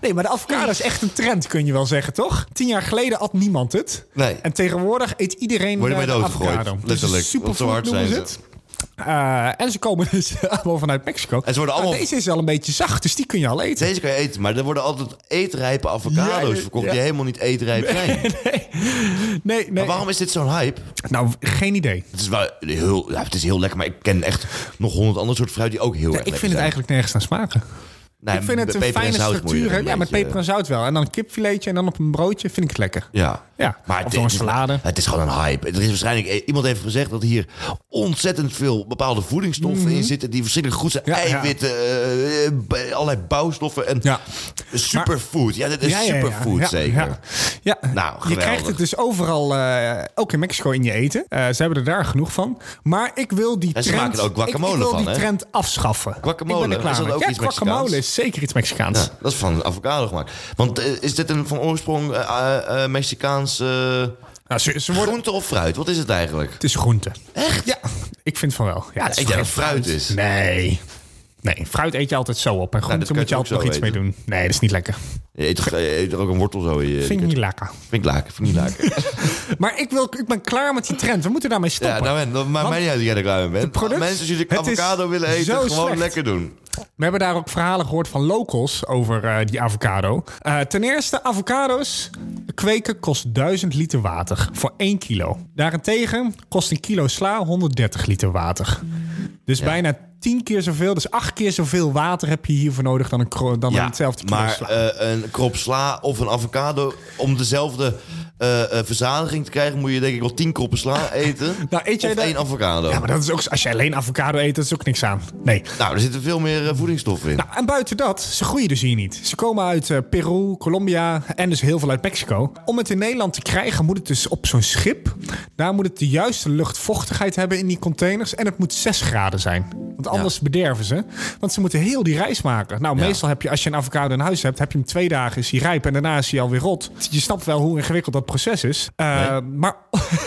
nee, maar de avocado is echt een trend, kun je wel zeggen, toch? Tien jaar geleden at niemand het. Nee. En tegenwoordig eet iedereen Word je eh, mee de doodgegooid, avocado. Dus letterlijk, een want zo hard superfood noemen ze zijn het. Eh, en ze komen dus [laughs] allemaal vanuit Mexico. En ze worden Maar allemaal- Deze is al een beetje zacht, dus die kun je al eten. Deze kan je eten, maar er worden altijd eetrijpe avocado's Ja, ja, verkocht ja. die helemaal niet eetrijp zijn. [laughs] Nee, nee. Maar waarom is dit zo'n hype? Nou, geen idee. Het is, wel heel, ja, het is heel lekker, maar ik ken echt nog honderd andere soort fruit die ook heel erg ik vind lekker het zijn. eigenlijk nergens naar smaken. Nee, ik vind het met een peper en fijne zout moet je structuur. er hè? een Ja, met beetje- eh, peper en zout wel. En dan een kipfiletje en dan op een broodje vind ik het lekker. Ja. Ja, of door een salade. Het is gewoon een hype. Er is waarschijnlijk, eh, iemand heeft gezegd dat hier ontzettend veel bepaalde voedingsstoffen in zitten. Die verschrikkelijk goed zijn. Mhm. Ja, ja. Eiwitten, eh, eh, b- allerlei bouwstoffen. En Ja. superfood. Ja, dit is superfood zeker. Ja, ja. Nou, je geweldig. krijgt het dus overal, eh, ook in Mexico, in je eten. Eh, ze hebben er daar genoeg van. Maar ik wil die En ze trend... maken er ook guacamole ik, ik wil van, die hè? trend afschaffen. Guacamole, ik ben er klaar is dat mee. ook ja, iets guacamole Mexicaans? is zeker iets Mexicaans. Ja, dat is van avocado gemaakt. Want eh, is dit een van oorsprong eh, eh, eh, Mexicaans eh, Nou, ze, ze worden... groente of fruit? Wat is het eigenlijk? Het is groente. Echt? Ja, ik vind van wel. Ja, het ik toch denk dat geen fruit is. Nou, Nee. Nee, fruit eet je altijd zo op. En groente dat kan moet je je ook altijd nog zo iets mee doen. Nee, dat is niet lekker. Je eet, toch- eh, je eet er ook een wortel zo in. je- Vind ik niet lekker. Vind ik laken, vind ik niet laken. Maar ik, wil, ik ben klaar met die trend. We moeten daarmee stoppen. Ja, nou, en, dat maakt mij niet uit dat jij er klaar mee bent. product- Mensen, als jullie het is avocado willen zo eten, gewoon slecht. lekker doen. We hebben daar ook verhalen gehoord van locals over eh, die avocado. Eh, ten eerste, avocado's kweken kost 1000 liter water voor 1 kilo. Daarentegen kost een kilo sla 130 liter water. Dus bijna 10 keer zoveel, dus 8 keer zoveel water heb je hiervoor nodig dan, een kro- dan Ja, hetzelfde kilo maar sla. eh, een krop sla of een avocado, om dezelfde eh, eh, verzadiging te krijgen, moet je denk ik wel tien kroppen sla eten. [laughs] Nou, eet jij of dat- één avocado. ja, maar dat is ook, als je alleen avocado eet, dat is ook niks aan. Nee. Nou, er zitten veel meer eh, voedingsstoffen in. Nou, en buiten dat, ze groeien dus hier niet. Ze komen uit eh, Peru, Colombia en dus heel veel uit Mexico. Om het in Nederland te krijgen moet het dus op zo'n schip. Daar moet het de juiste luchtvochtigheid hebben in die containers. En het moet 6 graden zijn. Want anders bederven ze. Want ze moeten heel die reis maken. Nou, meestal heb je, als je een avocado in huis hebt, heb je hem twee dagen, is hij rijp en daarna is hij alweer rot. Je snapt wel hoe ingewikkeld dat proces is. Eh, Maar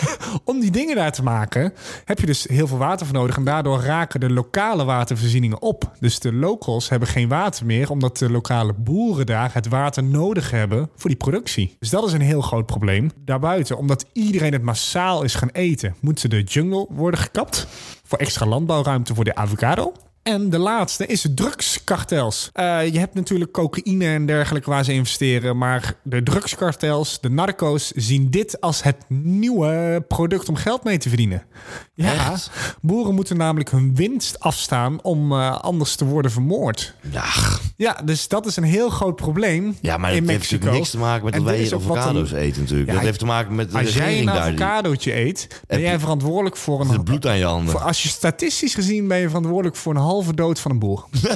[laughs] om die dingen daar te maken, heb je dus heel veel water voor nodig. En daardoor raken de lokale watervoorzieningen op. Dus de locals hebben geen water meer, omdat de lokale boeren daar het water nodig hebben voor die productie. Dus dat is een heel groot probleem. Daarbuiten, omdat iedereen het massaal is gaan eten, moeten de jungle worden gekapt. Voor extra landbouwruimte voor de avocado. En de laatste is drugskartels. Eh, je hebt natuurlijk cocaïne en dergelijke waar ze investeren. Maar de drugskartels, de narco's, zien dit als het nieuwe product om geld mee te verdienen. Ja, Echt? boeren moeten namelijk hun winst afstaan om eh, anders te worden vermoord. Ach, Ja, dus dat is een heel groot probleem ja, maar in dat heeft Mexico. natuurlijk niks te maken met En dat wij dit hier is ook wat avocado's een- eten natuurlijk. Ja, dat heeft te maken met de Als jij een regering daar. die- avocadootje eet, ben jij verantwoordelijk voor een... Het bloed aan je handen. Voor, als je statistisch gezien ben je verantwoordelijk voor een halve dood van een boer. [laughs] nee,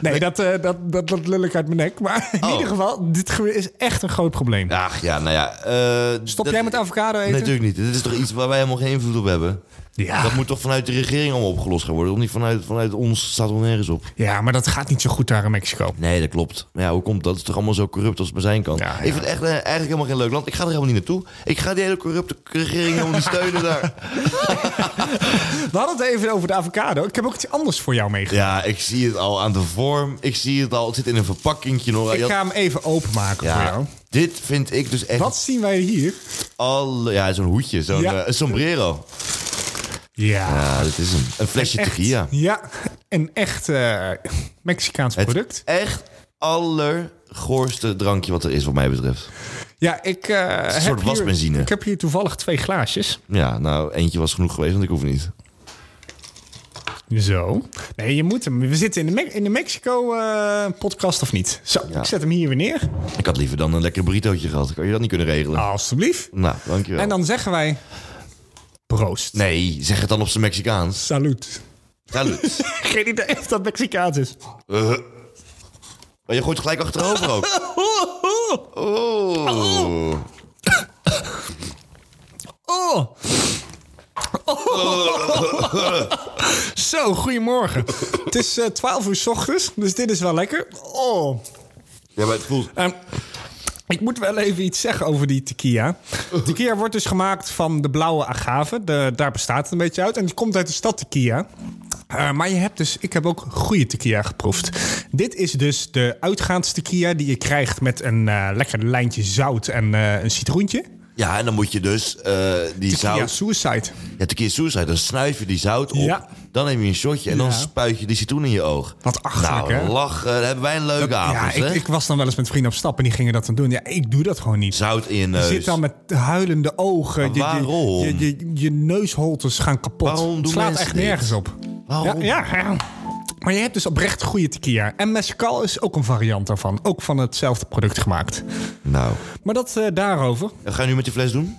nee, dat, eh, dat, dat, dat lul ik uit mijn nek. Maar in Oh. ieder geval, dit ge- is echt een groot probleem. Ach ja, nou ja. eh, Stop dat- jij met avocado eten? Nee, natuurlijk niet. Dit is toch iets waar wij helemaal geen invloed op hebben? Ja. Dat moet toch vanuit de regering allemaal opgelost gaan worden? Of niet vanuit, vanuit ons staat er nergens op. Ja, maar dat gaat niet zo goed daar in Mexico. Nee, dat klopt. Maar ja, hoe komt dat? Het is toch allemaal zo corrupt als het maar zijn kan? Ja, ja. Ik vind het echt, eh, eigenlijk helemaal geen leuk land. Ik ga er helemaal niet naartoe. Ik ga die hele corrupte regering helemaal niet steunen daar. We hadden het even over de avocado. Ik heb ook iets anders voor jou meegenomen. [laughs] Ja, ik zie het al aan de vorm. Ik zie het al. Het zit in een verpakkingje nog. Ik ga hem even openmaken voor ja, jou. dit vind ik dus echt Wat zien wij hier? alle... Ja, zo'n hoedje. Zo'n Ja. eh, een sombrero. Ja. Ja, dit is een, een flesje Echt, tequila. Ja, een echt eh, Mexicaans Het product. echt allergoorste drankje wat er is, wat mij betreft. Ja, ik, eh, een heb soort hier- wasbenzine. Ik heb hier toevallig twee glaasjes. Ja, nou, eentje was genoeg geweest, want ik hoef niet. Zo. Nee, je moet hem. We zitten in de, Me- in de Mexico eh, podcast of niet? Zo, Ja. ik zet hem hier weer neer. Ik had liever dan een lekker burritootje gehad. Kan je dat niet kunnen regelen? Alsjeblieft. Nou, dankjewel. Ah. En dan zeggen wij... Proost. Nee, zeg het dan op zijn Mexicaans. Salut. Salut. Geen idee of dat Mexicaans is. Eh. Maar je gooit gelijk [laughs] achterover ook. Oh. Oh. [laughs] Zo, goedemorgen. Het is eh 12 uur 's ochtends, dus dit is wel lekker. Oh. Ja, maar het voelt... Ehm, ik moet wel even iets zeggen over die tequila. Tequila wordt dus gemaakt van de blauwe agave. De, daar bestaat het een beetje uit. En die komt uit de stad tequila. Eh, maar je hebt dus, ik heb ook goede tequila geproefd. Dit is dus de uitgaans tequila die je krijgt met een eh, lekker lijntje zout en eh, een citroentje. Ja, en dan moet je dus eh, die Tequila zout... Suicide. Ja, tequila suicide. Dan snuif je die zout op. Ja. Dan neem je een shotje en dan Ja. spuit je die citroen in je oog. Wat achterlijk, nou, hè? lachen. Dan hebben wij een leuke Ja, avond, ik, hè? ik was dan wel eens met vrienden op stap en die gingen dat dan doen. Ja, ik doe dat gewoon niet. Zout in je Je neus. zit dan met huilende ogen. Je- je- waarom? Je, je, je, neusholtes gaan kapot. Waarom Het doen slaat mensen echt dit? nergens op. Waarom? Ja, ja, ja. Maar je hebt dus oprecht goede tequila. En mezcal is ook een variant daarvan. Ook van hetzelfde product gemaakt. Nou, Maar dat eh, daarover. wat ga je nu met die fles doen?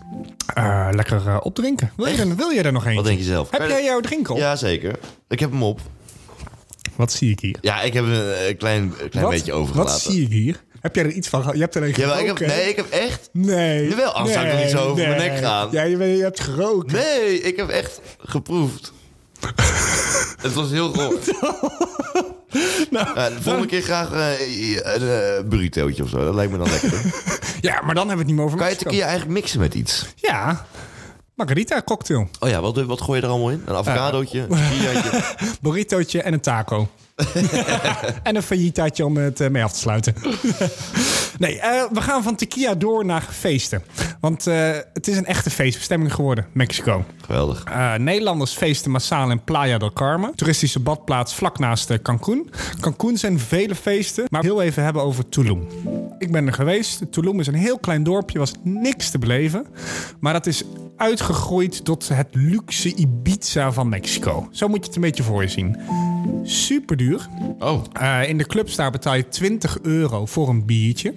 Eh, lekker eh, opdrinken. Wil je, er, wil je er nog Wat eentje? denk je zelf? Heb Kan jij jouw drink op? Jazeker. Ik heb hem op. Wat zie ik hier? Ja, ik heb een, een klein, een klein wat, beetje wat overgelaten. zie ik hier? Heb jij er iets van? geha- Je hebt er een Jawel, ik gerookt, heb, hè? nee, ik heb echt... Nee. Jawel, anders zou ik nee, er niet zo over mijn nee. nek gaan. Ja, je, bent- je hebt gerookt. Nee, ik heb echt [laughs] geproefd. Het was heel [laughs] goor. Ja, de volgende keer graag eh, een eh, burritootje of zo. Dat lijkt me [laughs] dan lekker. Ja, maar dan hebben we het niet meer over Kan je Mexico. tequila eigenlijk mixen met iets? Ja. Margarita cocktail. Oh ja, wat, wat gooi je er allemaal in? Een avocadootje, een tequilaatje. Burritootje en een taco. en een faillitaatje om het eh, mee af te [laughs] sluiten. nee, eh, we gaan van tequila door naar feesten. Want eh, het is een echte feestbestemming geworden, Mexico. [laughs] Geweldig. Eh, Nederlanders feesten massaal in Playa del Carmen. Toeristische badplaats vlak naast eh, Cancún. [laughs] Cancún zijn vele feesten. Maar heel even hebben over Tulum. Ik ben er geweest. Tulum is een heel klein dorpje. Was niks te beleven. Maar dat is uitgegroeid tot het luxe Ibiza van Mexico. Zo moet je het een beetje voor je zien. Super duur. Oh. Eh, in de clubs daar betaal je 20 euro voor een biertje.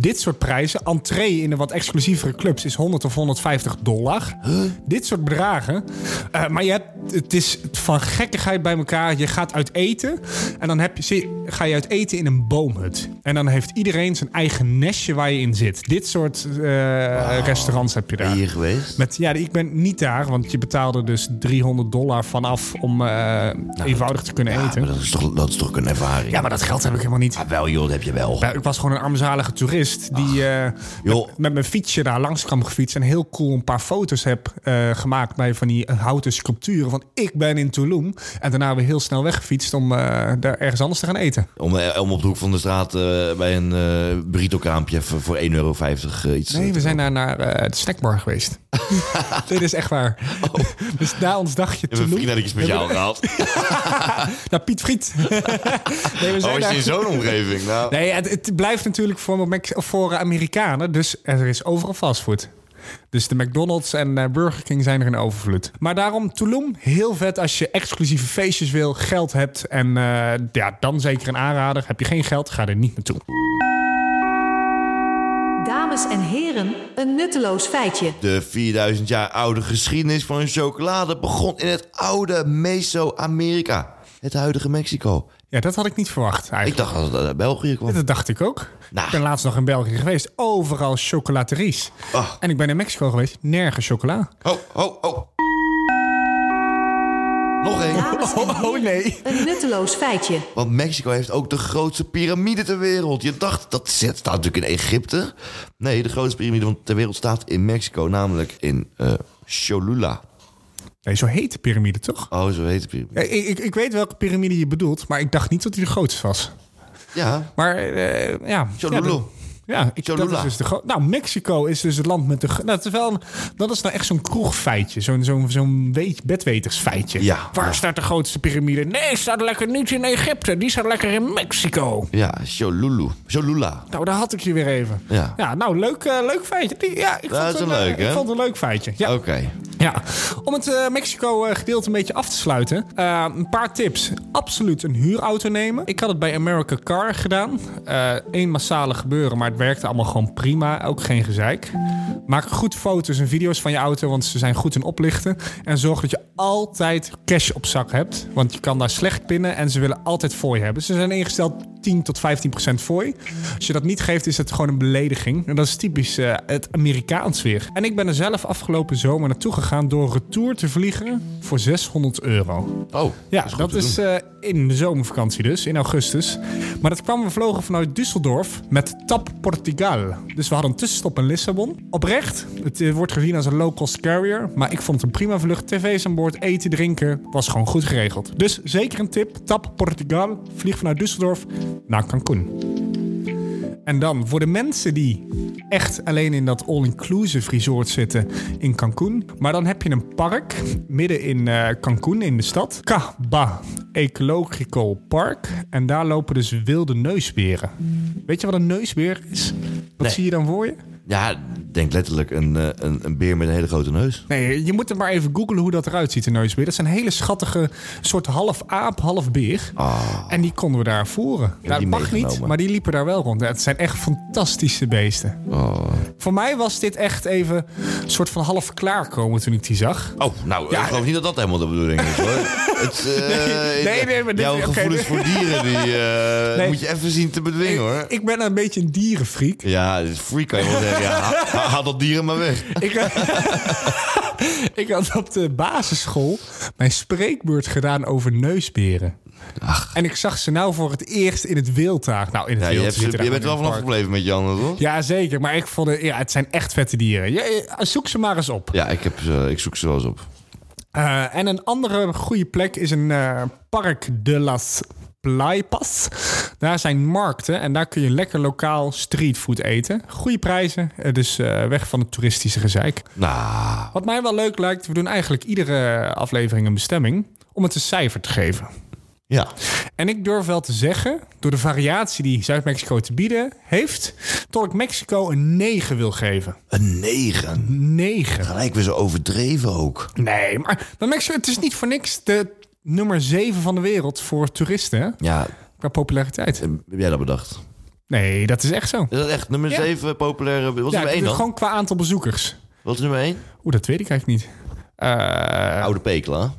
Dit soort prijzen, entree in de wat exclusievere clubs is 100 of 150 dollar. Dit soort bedragen. Eh, maar je hebt, het is van gekkigheid bij elkaar. Je gaat uit eten en dan heb je, zie- ga je uit eten in een boomhut. En dan heeft iedereen zijn eigen nestje waar je in zit. Dit soort eh, restaurants heb je daar. Ben je hier geweest? Met, ja, ik ben niet daar, want je betaalde dus 300 dollar vanaf om eh, eenvoudig te kunnen Ja, eten. maar Nou, dat is toch, dat is toch een ervaring? Ja, maar dat geld heb ik helemaal niet. Ah, wel joh, dat heb je wel. Ja, ik was gewoon een armzalige toerist die Ah. eh, Joh. met, met mijn fietsje daar langs kwam gefietst en heel cool een paar foto's heb eh, gemaakt bij van die eh, houten sculpturen. Van ik ben in Tulum. En daarna weer heel snel weggefietst om eh, daar ergens anders te gaan eten. Om, eh, om op de hoek van de straat eh, bij een eh burrito-kraampje even voor 1,50 euro eh, iets Nee, eh, we zijn daar naar eh, de snackbar geweest. [laughs] Dit is echt waar. Oh. [laughs] Dus na ons dagje We hebben een Tulum, vriendinnetje speciaal gehaald. naar Piet Friet. [laughs] nee, we Oh, is daar- die Oh, in zo'n omgeving? Nou, Nee, het, het blijft natuurlijk voor, Mex- voor Amerikanen. Dus er is overal fastfood. Dus de McDonald's en eh, Burger King zijn er in overvloed. Maar daarom Tulum, heel vet als je exclusieve feestjes wil, geld hebt. En eh, ja, dan zeker een aanrader. Heb je geen geld, ga er niet naartoe. Dames en heren, een nutteloos feitje. De 4000 jaar oude geschiedenis van chocolade begon in het oude Meso-Amerika. Het huidige Mexico. Ja, dat had ik niet verwacht Ik eigenlijk. dacht dat het uit België kwam. Dat dacht ik ook. Nou. Ik ben laatst nog in België geweest. Overal chocolateries. Ah. En ik ben in Mexico geweest. Nergens chocola. Oh, oh, oh. Nog één. Dames en Oh, oh, heren, nee. een nutteloos feitje. Want Mexico heeft ook de grootste piramide ter wereld. Je dacht, dat zit- staat natuurlijk in Egypte. Nee, de grootste piramide van- ter wereld staat in Mexico. Namelijk in eh, Cholula. Nee, zo heet de piramide toch? Oh, zo heet de piramide. Ja, Ik, ik, ik weet welke piramide je bedoelt, maar ik dacht niet dat die de grootste was. Ja, Maar eh, ja. Cholula. Ja, de- ja, ik, dat Cholula. is dus de gro- Nou, Mexico is dus het land met de... gro- Nou, dat, is wel een- dat is nou echt zo'n kroegfeitje. Zo'n zo'n zo'n weet- bedwetersfeitje. Ja. Waar staat de grootste piramide? Nee, staat lekker niet in Egypte. Die staat lekker in Mexico. ja, Cholulu. Cholula. Nou, daar had ik je weer even. Ja. nou, leuk, eh, leuk feitje. Die- Ja, ik Dat vond is het een eh, leuk, hè? Ik vond het een leuk feitje. Ja. Oké. Ja, om het eh, Mexico-gedeelte een beetje af te sluiten. eh, een paar tips. Absoluut een huurauto nemen. Ik had het bij America Car gedaan. Eén massale gebeuren, maar het werkte allemaal gewoon prima. Ook geen gezeik. Maak goed foto's en video's van je auto, want ze zijn goed in oplichten. En zorg dat je altijd cash op zak hebt. Want je kan daar slecht pinnen en ze willen altijd fooi hebben. Ze zijn ingesteld 10 tot 15 procent fooi. Als je dat niet geeft, is het gewoon een belediging. En dat is typisch eh, het Amerikaans weer. En ik ben er zelf afgelopen zomer naartoe gegaan door retour te vliegen voor 600 euro. Oh, Ja, goed dat te is doen. eh, in de zomervakantie dus, in augustus. Maar dat kwam, we vlogen vanuit Düsseldorf met TAP Portugal. Dus we hadden een tussenstop in Lissabon. Oprecht, het eh, wordt gezien als een low-cost carrier. Maar ik vond het een prima vlucht. TV's aan boord, eten, drinken, was gewoon goed geregeld. Dus zeker een tip, TAP Portugal, vlieg vanuit Düsseldorf naar Cancun. En dan voor de mensen die echt alleen in dat all-inclusive resort zitten in Cancun. Maar dan heb je een park midden in eh, Cancun in de stad. Caba Ecological Park. En daar lopen dus wilde neusberen. Weet je wat een neusbeer is? Wat zie je dan voor je? Ja, ik denk letterlijk een, eh, een, een beer met een hele grote neus. Nee, je moet het maar even googlen hoe dat eruit ziet, een neusbeer. Dat zijn hele schattige, soort half aap, half beer. En die konden we daar voeren. Nou, Ah. die dat mag meegenomen. niet, maar die liepen daar wel rond. Ja, Het zijn echt fantastische beesten. Oh, Voor mij was dit echt even een soort van half klaarkomen toen ik die zag. oh nou, Ja, ik geloof niet dat dat helemaal de bedoeling [laughs] is, hoor. Het, eh, Nee, nee, nee, maar dit- jouw oké, gevoelens dit- voor dieren, die eh, Nee. moet je even zien te bedwingen, hoor. Ik ben een beetje een dierenfreak. Ja, dit is free kan je wel zeggen. Ja, ha- ha- haal dat dieren maar weg. Ik, eh, [laughs] ik had op de basisschool mijn spreekbeurt gedaan over neusberen. En ik zag ze nou voor het eerst in het wild daar. Nou, in het Ja, je, wild hebt, zitten ze- daar je bent er wel gewoon in vanaf het park. gebleven met Jan, toch? Ja, zeker. Maar ik vond het, ja, het zijn echt vette dieren. Je- je- zoek ze maar eens op. Ja, ik, heb, ze- ik zoek ze wel eens op. Eh, en een andere goede plek is een eh, Park de las Plaipas. Daar zijn markten en daar kun je lekker lokaal streetfood eten. Goede prijzen, eh, dus eh, weg van het toeristische gezeik. Nou, Wat mij wel leuk lijkt, we doen eigenlijk iedere aflevering een bestemming om het een cijfer te geven. ja. En ik durf wel te zeggen, door de variatie die Zuid-Mexico te bieden heeft, dat ik Mexico een 9 wil geven. Een negen. 9. Gelijk weer zo overdreven ook. Nee, maar dan Mexico, het is niet voor niks de nummer 7 van de wereld voor toeristen. hè? Ja, eh, Qua populariteit. heb jij dat bedacht? Nee, dat is echt zo. Is dat echt nummer Ja. 7 populaire... Wat is nummer 1 dan? gewoon qua aantal bezoekers. Wat is nummer 1? Oeh, dat weet ik eigenlijk niet. Eh Oude Pekela.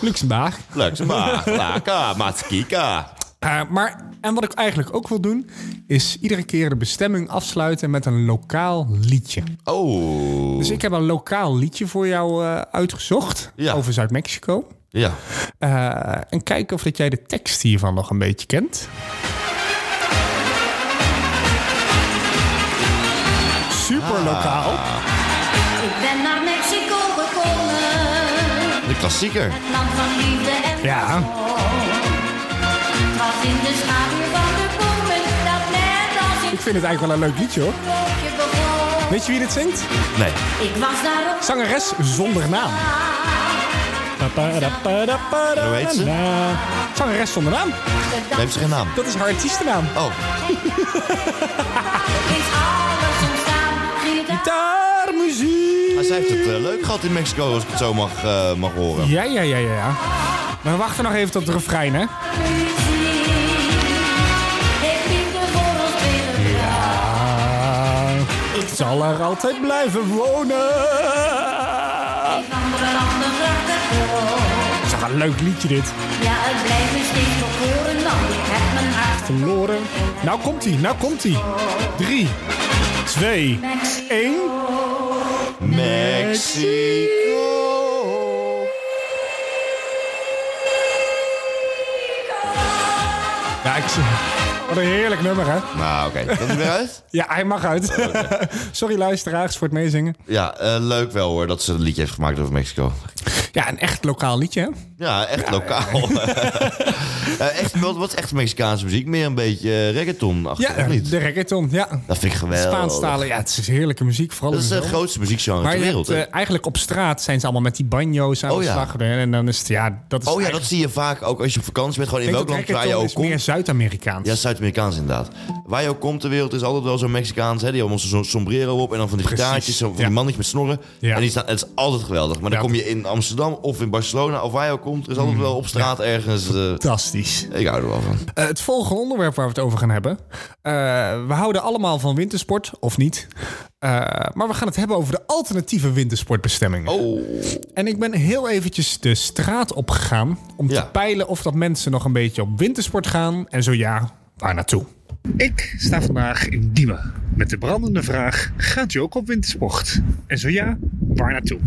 Luxemburg. Luxemburg, [laughs] Laka, Matskika. Eh, maar, en wat ik eigenlijk ook wil doen, is iedere keer de bestemming afsluiten met een lokaal liedje. Oh. Dus ik heb een lokaal liedje voor jou eh, uitgezocht Ja. over Zuid-Mexico. Ja. Eh, en kijken of dat jij de tekst hiervan nog een beetje kent. Super lokaal. Ik ben naar Mexico gekomen, De klassieker. het land van liefde en Ja. wanhoop. Het was in de schaduw van de bomen dat net als in Ik vind het eigenlijk wel een leuk liedje hoor. een koopje begon. Weet je wie dit zingt? Nee. Ik was daar op Zangeres zonder naam. Hoe heet ze? Zangeres zonder naam. Dan heeft ze geen naam. Dat is haar artiestennaam. Oh, is alles ontstaan. Gitaar, Gitaarmuziek. maar zij heeft het eh, leuk gehad in Mexico, als ik het zo mag, eh, mag horen. Ja, ja, ja, ja, ja. Maar we wachten nog even tot de refrein, hè? muziek. Heeft liefde voor ons willen gaan. Ah, Ik zal er altijd blijven wonen. Andere landen vragen voor. Het is toch een leuk liedje dit. Ja, het blijft me steeds nog horen, want ik heb mijn hart Verloren. Nou komt ie, nou komt ie. Drie, twee, één. Mexico. Ja, ik zie. Wat een heerlijk nummer, hè? Nou, oké. Dat is weer uit. Ja, hij mag uit. [laughs] Sorry luisteraars voor het meezingen. Ja, eh, leuk wel hoor dat ze een liedje heeft gemaakt over Mexico. Ja, een echt lokaal liedje, hè? Ja, echt lokaal. [laughs] Eh, echt, wat, wat is echt Mexicaanse muziek? Meer een beetje eh, reggaeton achter, Ja, of niet? de reggaeton, ja. Dat vind ik geweldig. Spaanstalen, ja, het is heerlijke muziek. Vooral Dat in is eh, de het zomer. grootste muziekgenre Maar ter je wereld. hebt, hè? eh, eigenlijk op straat zijn ze allemaal met die banjo's aan Oh, de ja. slag. En dan is het, ja, dat is oh ja, eigenlijk- dat zie je vaak ook als je op vakantie bent. Gewoon in Ik welk denk land dat waar je reggaeton ook is meer komt. Zuid-Amerikaans. Ja, Zuid-Amerikaans inderdaad. Waar je ook komt ter wereld is altijd wel zo'n Mexicaans. Hè? Die hebben zo'n sombrero op en dan van die Precies, gitaartjes. Zo, van ja. die mannetjes met snorren. Ja. En die staan, het is altijd geweldig. Maar dan Ja. Mm. kom je in Amsterdam of in Barcelona of waar je ook komt. Er is altijd wel op straat ergens... eh, Fantastisch. ik hou er wel van. Eh, het volgende onderwerp waar we het over gaan hebben. Eh, we houden allemaal van wintersport, of niet. Eh, maar we gaan het hebben over de alternatieve wintersportbestemmingen. Oh. En ik ben heel eventjes de straat opgegaan om Ja. te peilen of dat mensen nog een beetje op wintersport gaan. En zo ja, waar naartoe? Ik sta vandaag in Diemen met de brandende vraag: gaat u ook op wintersport? En zo ja, waar naartoe?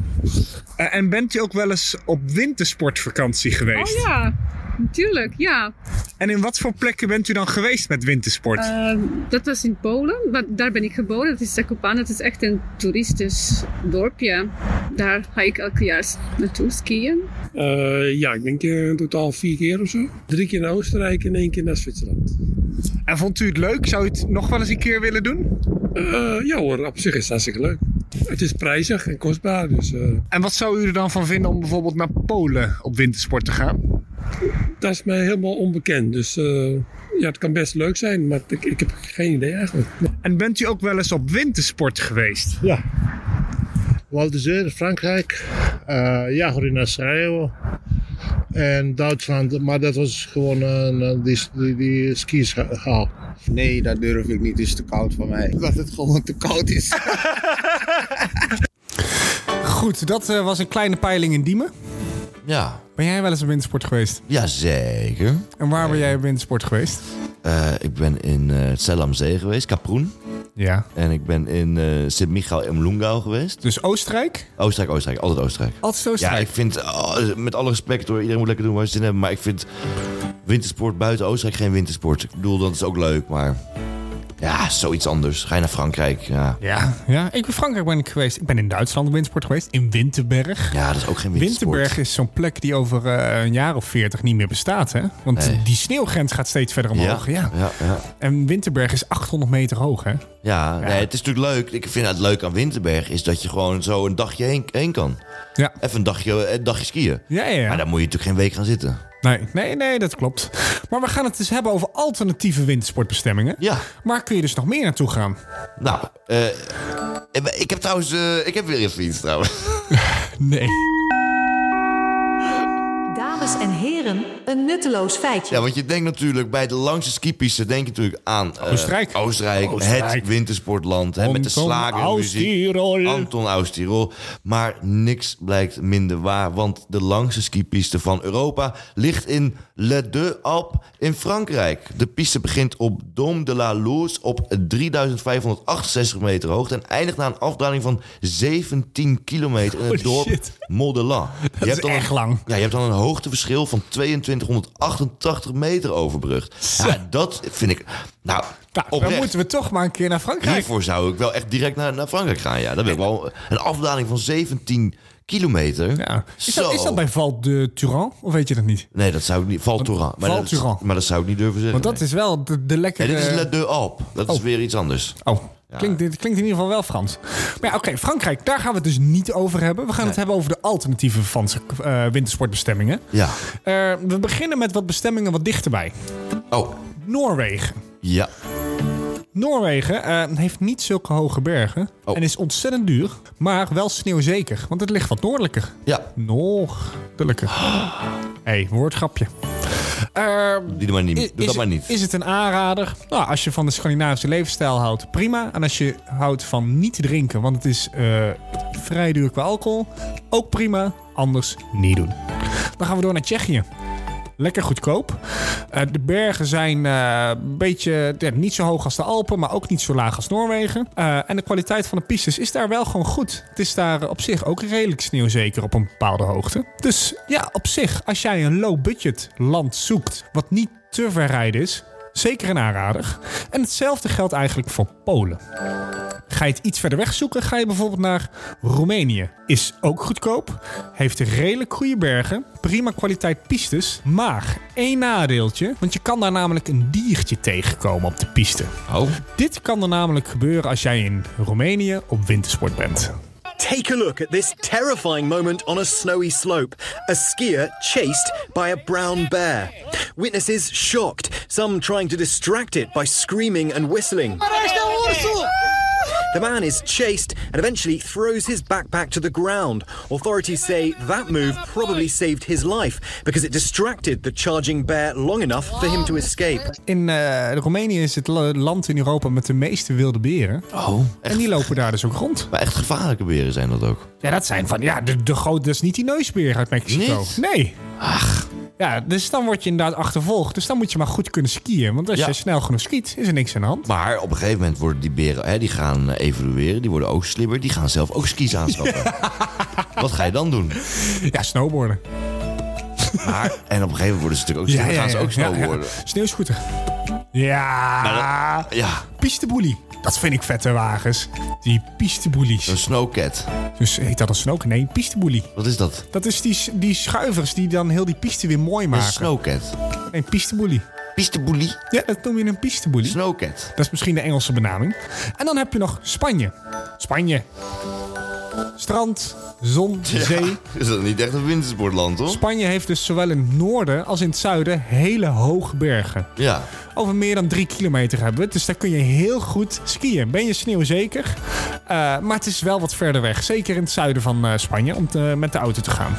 Eh, en bent u ook wel eens op wintersportvakantie Oh geweest? ja, natuurlijk, ja. En in wat voor plekken bent u dan geweest met wintersport? Eh, dat was in Polen, maar daar ben ik geboren. Dat is Zakopane, dat is echt een toeristisch dorpje. Daar ga ik elk jaar naartoe skiën. Eh, ja, ik denk eh, in totaal vier keer of zo. Drie keer naar Oostenrijk en één keer naar Zwitserland. En vond u het leuk? Zou u het nog wel eens een keer willen doen? Eh, ja hoor, op zich is het hartstikke leuk. Het is prijzig en kostbaar, dus eh, En wat zou u er dan van vinden om bijvoorbeeld naar Polen op wintersport te gaan? dat is mij helemaal onbekend. Dus eh, ja, het kan best leuk zijn, maar ik, ik heb geen idee eigenlijk. En bent u ook wel eens op wintersport geweest? Ja. Val d'Isère, Frankrijk. eh Jager in Schreeuwen. En Duitsland, maar dat was gewoon een eh, die, die, die skischaal. Nee, dat durf ik niet, het is te koud voor mij. Dat het gewoon te koud is. Goed, dat eh, was een kleine peiling in Diemen. Ja, Ben jij wel eens op wintersport geweest? jazeker. En waar ben jij op wintersport geweest? Eh, ik ben in eh Cell am Zee geweest, Kaproen. Ja. En ik ben in eh Sint-Michael en Lungau geweest. Dus Oostenrijk? Oostenrijk, Oostenrijk, altijd Oostenrijk. Altijd Ja, Oostenrijk. ik vind, oh, met alle respect hoor, iedereen moet lekker doen waar ze zin in hebben. Maar ik vind wintersport buiten Oostenrijk geen wintersport. Ik bedoel, dat is ook leuk, maar ja, zoiets anders. Ga je naar Frankrijk, ja. Ja, ja. Ik ben Frankrijk ben ik geweest. Ik ben in Duitsland op wintersport geweest. In Winterberg. Ja, dat is ook geen wintersport. Winterberg is zo'n plek die over eh, een jaar of veertig niet meer bestaat. Hè? Want Nee. die sneeuwgrens gaat steeds verder omhoog. Ja. ja, ja, ja. En Winterberg is 800 meter hoog. Hè? Ja, nee, het is natuurlijk leuk. Ik vind het leuk aan Winterberg is dat je gewoon zo een dagje heen, heen kan. Ja. Even een dagje, eh, een dagje skiën. Ja, ja, ja. Maar dan moet je natuurlijk geen week gaan zitten. Nee, nee, nee, dat klopt. Maar we gaan het dus hebben over alternatieve wintersportbestemmingen. Ja. Maar kun je dus nog meer naartoe gaan? Nou, eh, ik heb trouwens, eh, ik heb weer even iets trouwens. Nee. Dames en heren. heren, een nutteloos feitje. Ja, want je denkt natuurlijk bij de langste skipisten denk je natuurlijk aan eh, Oostenrijk. Oostenrijk, Oostenrijk. het wintersportland hè, met de Anton slagermuziek. Austirol. Anton Austirol. Maar niks blijkt minder waar, want de langste skipiste van Europa ligt in Le Deux Alpes in Frankrijk. De piste begint op Dôme de la Louse op 3568 meter hoogte en eindigt na een afdaling van 17 kilometer in het Holy dorp Oh, shit. Modelan. Dat is echt lang. Ja, je hebt dan een hoogteverschil van 2288 meter overbrugd. Ja, dat vind ik... Nou, Dan oprecht. moeten we toch maar een keer naar Frankrijk. Hiervoor zou ik wel echt direct naar, naar Frankrijk gaan. Ja, dat wil ik wel. Een afdaling van 17 kilometer. Is dat, is dat bij Val de Turan? Of weet je dat niet? Nee, dat zou ik niet... Val Thorens. Maar, Val dat- Thorens. maar dat zou ik niet durven zeggen. Want dat is wel de, de nee. lekkere... Nee, dit is Le Deux Alpes. Dat is Oh. weer iets anders. Oh, Klinkt, dit klinkt in ieder geval wel Frans. Maar ja, oké, Frankrijk, daar gaan we het dus niet over hebben. We gaan het hebben over de alternatieve Franse eh, wintersportbestemmingen. Ja. Eh, we beginnen met wat bestemmingen wat dichterbij. Oh. Noorwegen. Ja. Noorwegen eh, heeft niet zulke hoge bergen. En is ontzettend duur, maar wel sneeuwzeker. Want het ligt wat noordelijker. Ja. Noordelijker. Hé, hey, woordgrapje. Eh, Doe dat maar niet. I- Doe is, dat maar niet. Is het een aanrader? Nou, als je van de Scandinavische levensstijl houdt, prima. En als je houdt van niet drinken, want het is eh, vrij duur qua alcohol, ook prima. Anders niet doen. Dan gaan we door naar Tsjechië. Lekker goedkoop. Eh, de bergen zijn eh, een beetje ja, niet zo hoog als de Alpen, maar ook niet zo laag als Noorwegen. Eh, en de kwaliteit van de pistes is daar wel gewoon goed. Het is daar eh, op zich ook redelijk sneeuwzeker op een bepaalde hoogte. Dus ja, op zich, als jij een low-budget land zoekt wat niet te ver rijden is, zeker een aanrader. En hetzelfde geldt eigenlijk voor Polen. Ga je het iets verder weg zoeken, ga je bijvoorbeeld naar Roemenië. Is ook goedkoop, heeft redelijk goede bergen, prima kwaliteit pistes, maar één nadeeltje, want je kan daar namelijk een diertje tegenkomen op de piste. Oh. Dit kan er namelijk gebeuren als jij in Roemenië op wintersport bent. Take a look at this terrifying moment on a snowy slope. A skier chased by a brown bear. Witnesses shocked, some trying to distract it by screaming and whistling. The man is chased and eventually throws his backpack to the ground. Authorities say that move probably saved his life because it distracted the charging bear long enough for him to escape. In eh, Roemenië is het la- land in Europa met de meeste wilde beren. Oh, En die lopen daar dus ook rond. Maar echt gevaarlijke beren zijn dat ook. Ja, dat zijn van. Ja, de, de groot, dat is niet die neusbeer uit Mexico. Nee. Ach. Ja, dus dan word je inderdaad achtervolgd. Dus dan moet je maar goed kunnen skiën. Want als Ja. je snel genoeg skiet, is er niks aan de hand. Maar op een gegeven moment worden die beren, hè, die gaan eh, evolueren, die worden ook slimmer, die gaan zelf ook skis [laughs] aanschaffen. Wat ga je dan doen? Ja, snowboarden. Maar, en op een gegeven moment worden ze natuurlijk Dus ook slimmer, gaan ze ook snowboarden. Ja, ja. Sneeuwscooter. Nou, Ja. ja. Pisteboelie. Dat vind ik vette wagens. Die pisteboelies. Een snowcat. Dus heet dat een snowcat? Nee, een pisteboelie. Wat is dat? Dat is die, s- die schuivers die dan heel die piste weer mooi maken. Een snowcat. Nee, pisteboelie. Pisteboelie? Ja, dat noem je een pisteboelie. Snowcat. Dat is misschien de Engelse benaming. En dan heb je nog Spanje. Spanje. Strand, zon, zee. Ja, [laughs] is dat niet echt een wintersportland, hoor? Spanje heeft dus zowel in het noorden als in het zuiden hele hoge bergen. Ja. Over meer dan drie kilometer hebben we het. Dus daar kun je heel goed skiën. Ben je sneeuwzeker? Eh, maar het is wel wat verder weg. Zeker in het zuiden van eh, Spanje om te- met de auto te gaan.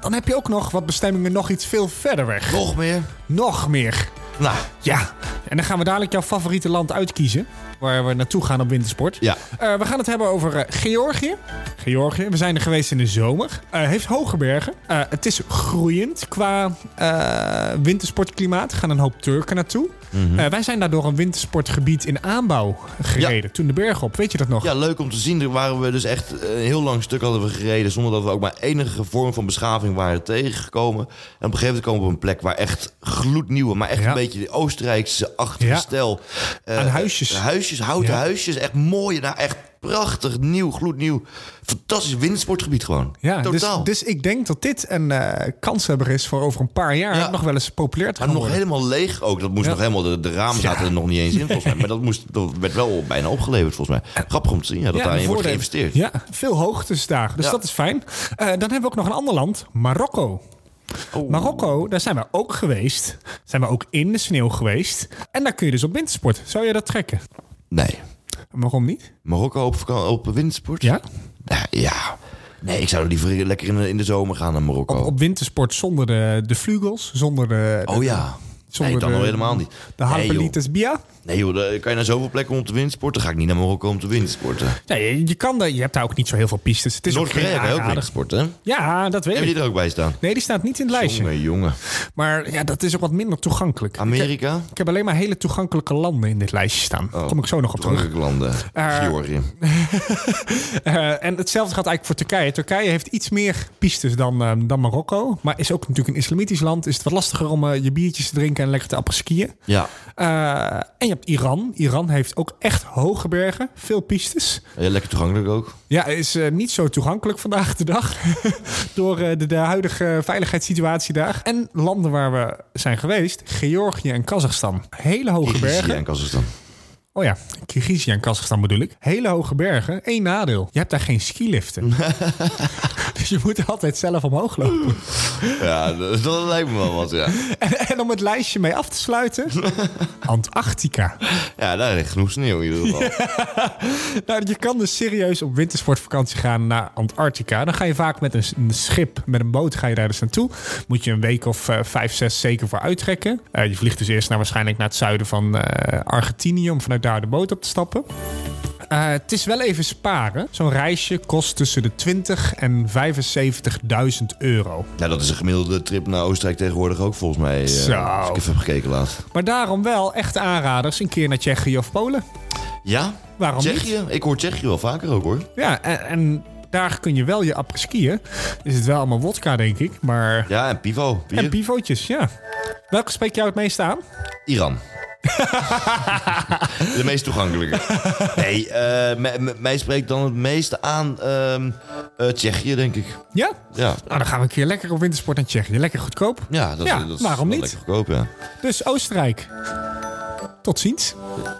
Dan heb je ook nog wat bestemmingen nog iets veel verder weg. Nog meer? Nog meer. Nou. Ja. En dan gaan we dadelijk jouw favoriete land uitkiezen. Waar we naartoe gaan op wintersport. Ja. Eh, we gaan het hebben over eh, Georgië. Georgië, we zijn er geweest in de zomer. Eh, heeft hoge bergen. Eh, het is groeiend qua eh, wintersportklimaat. Er gaan een hoop Turken naartoe. Mhm. Eh, wij zijn daardoor een wintersportgebied in aanbouw gereden. Toen de bergen op, weet je dat nog? Ja, leuk om te zien. Daar waren we dus echt een heel lang stuk hadden we gereden... zonder dat we ook maar enige vorm van beschaving waren tegengekomen. En op een gegeven moment komen we op een plek waar echt gloednieuwe... maar echt een beetje de Oostenrijkse achtige Ja. stijl... eh, Aan huisjes. Huisjes, houten Ja. huisjes. Echt mooie, nou echt prachtig, nieuw, gloednieuw. Fantastisch wintersportgebied gewoon. Ja, dus, Totaal. dus ik denk dat dit een eh kanshebber is voor over een paar jaar nog wel eens populair te maar gaan nog worden. helemaal leeg ook. Dat moest Ja. nog helemaal, de, de ramen zaten er nog niet eens in volgens mij. Maar dat, moest, dat werd wel bijna opgeleverd volgens mij. Grappig om te zien ja, dat Ja, daarin wordt voordelen. geïnvesteerd. Ja, veel hoogtes daar. Dus Ja. dat is fijn. Eh, dan hebben we ook nog een ander land, Marokko. Oh. Marokko, daar zijn we ook geweest. Zijn we ook in de sneeuw geweest. En daar kun je dus op wintersport. Zou je dat trekken? Nee. Waarom niet? Marokko op, vakan- op wintersport? Ja. Nou, Ja. Nee, ik zou liever lekker in de, in de zomer gaan naar Marokko. Op wintersport zonder de, de vlugels, zonder de... oh ja. Zonder nee, dan de- nog helemaal niet. De Harpelitis bia? Nee joh, daar kan je naar zoveel plekken om te windsporten. Ga ik niet naar Marokko om te windsporten. Nee, je, je kan daar, je hebt daar ook niet zo heel veel pistes. Het is ook geen Noord-Korea kan je ook aanrader. windsporten, hè? Ja, dat weet Hebben ik. die er ook bij staan? Nee, die staat niet in het lijstje. Jongen, jongen. Maar ja, dat is ook wat minder toegankelijk. Amerika? Oh, Ik, heb- ik heb alleen maar hele toegankelijke landen in dit lijstje staan. Daar kom ik zo nog op terug. Toegankelijke landen. Eh, Georgië. Eh, en hetzelfde gaat eigenlijk voor Turkije. Turkije heeft iets meer pistes dan, eh, dan Marokko. Maar is ook natuurlijk een islamitisch land. Is het wat lastiger om eh, je biertjes te drinken en lekker te appeskiën. Ja. Eh, en je hebt Iran. Iran heeft ook echt hoge bergen. Veel pistes. Ja, lekker toegankelijk ook. Ja, is eh, niet zo toegankelijk vandaag de dag. [laughs] Door eh, de, de huidige veiligheidssituatie daar. En landen waar we zijn geweest. Georgië en Kazachstan. Hele hoge Kirgizië bergen. en Kazachstan. Oh ja, Kirgizië en Kazachstan bedoel ik. Hele hoge bergen. Eén nadeel. Je hebt daar geen [laughs] skiliften. dus je moet altijd zelf [laughs] omhoog lopen. Ja, dat, dat lijkt me wel wat, ja. En, en om het lijstje mee af te [laughs] sluiten. Antarctica. Ja, daar ligt genoeg sneeuw in ieder [laughs] geval. Nou, je kan dus serieus op wintersportvakantie gaan naar Antarctica. Dan ga je vaak met een, s- een schip, met een boot, ga je daar dus naartoe. Moet je een week of eh, vijf, zes zeker voor uittrekken. Eh, je vliegt dus eerst naar, waarschijnlijk naar het zuiden van eh, Argentinië... om vanuit daar de boot op te stappen. Eh, het is wel even sparen. Zo'n reisje kost tussen de 20 en 75.000 euro. Nou, dat is een gemiddelde trip naar Oostenrijk tegenwoordig ook volgens mij. eh, Zo. Als ik even heb gekeken laat. Maar daarom wel echt aanraders een keer naar Tsjechië of Polen. Ja? Waarom niet? Tsjechië? Ik hoor Tsjechië wel vaker ook hoor. Ja, en, en daar kun je wel je apres-skiën. Is het wel allemaal wodka, denk ik, maar... Ja, en pivo. bier. En pivootjes, ja. Welke spreek jou het meest aan? Iran. [laughs] De meest toegankelijke. Nee, eh, mij- mij- mij spreekt dan het meeste aan ehm, eh, Tsjechië, denk ik. Ja? Ja. Nou, dan gaan we een keer lekker op wintersport naar Tsjechië. Lekker goedkoop. Ja, dat, dat is waarom wel niet? lekker goedkoop, ja. Dus Oostenrijk. Tot ziens.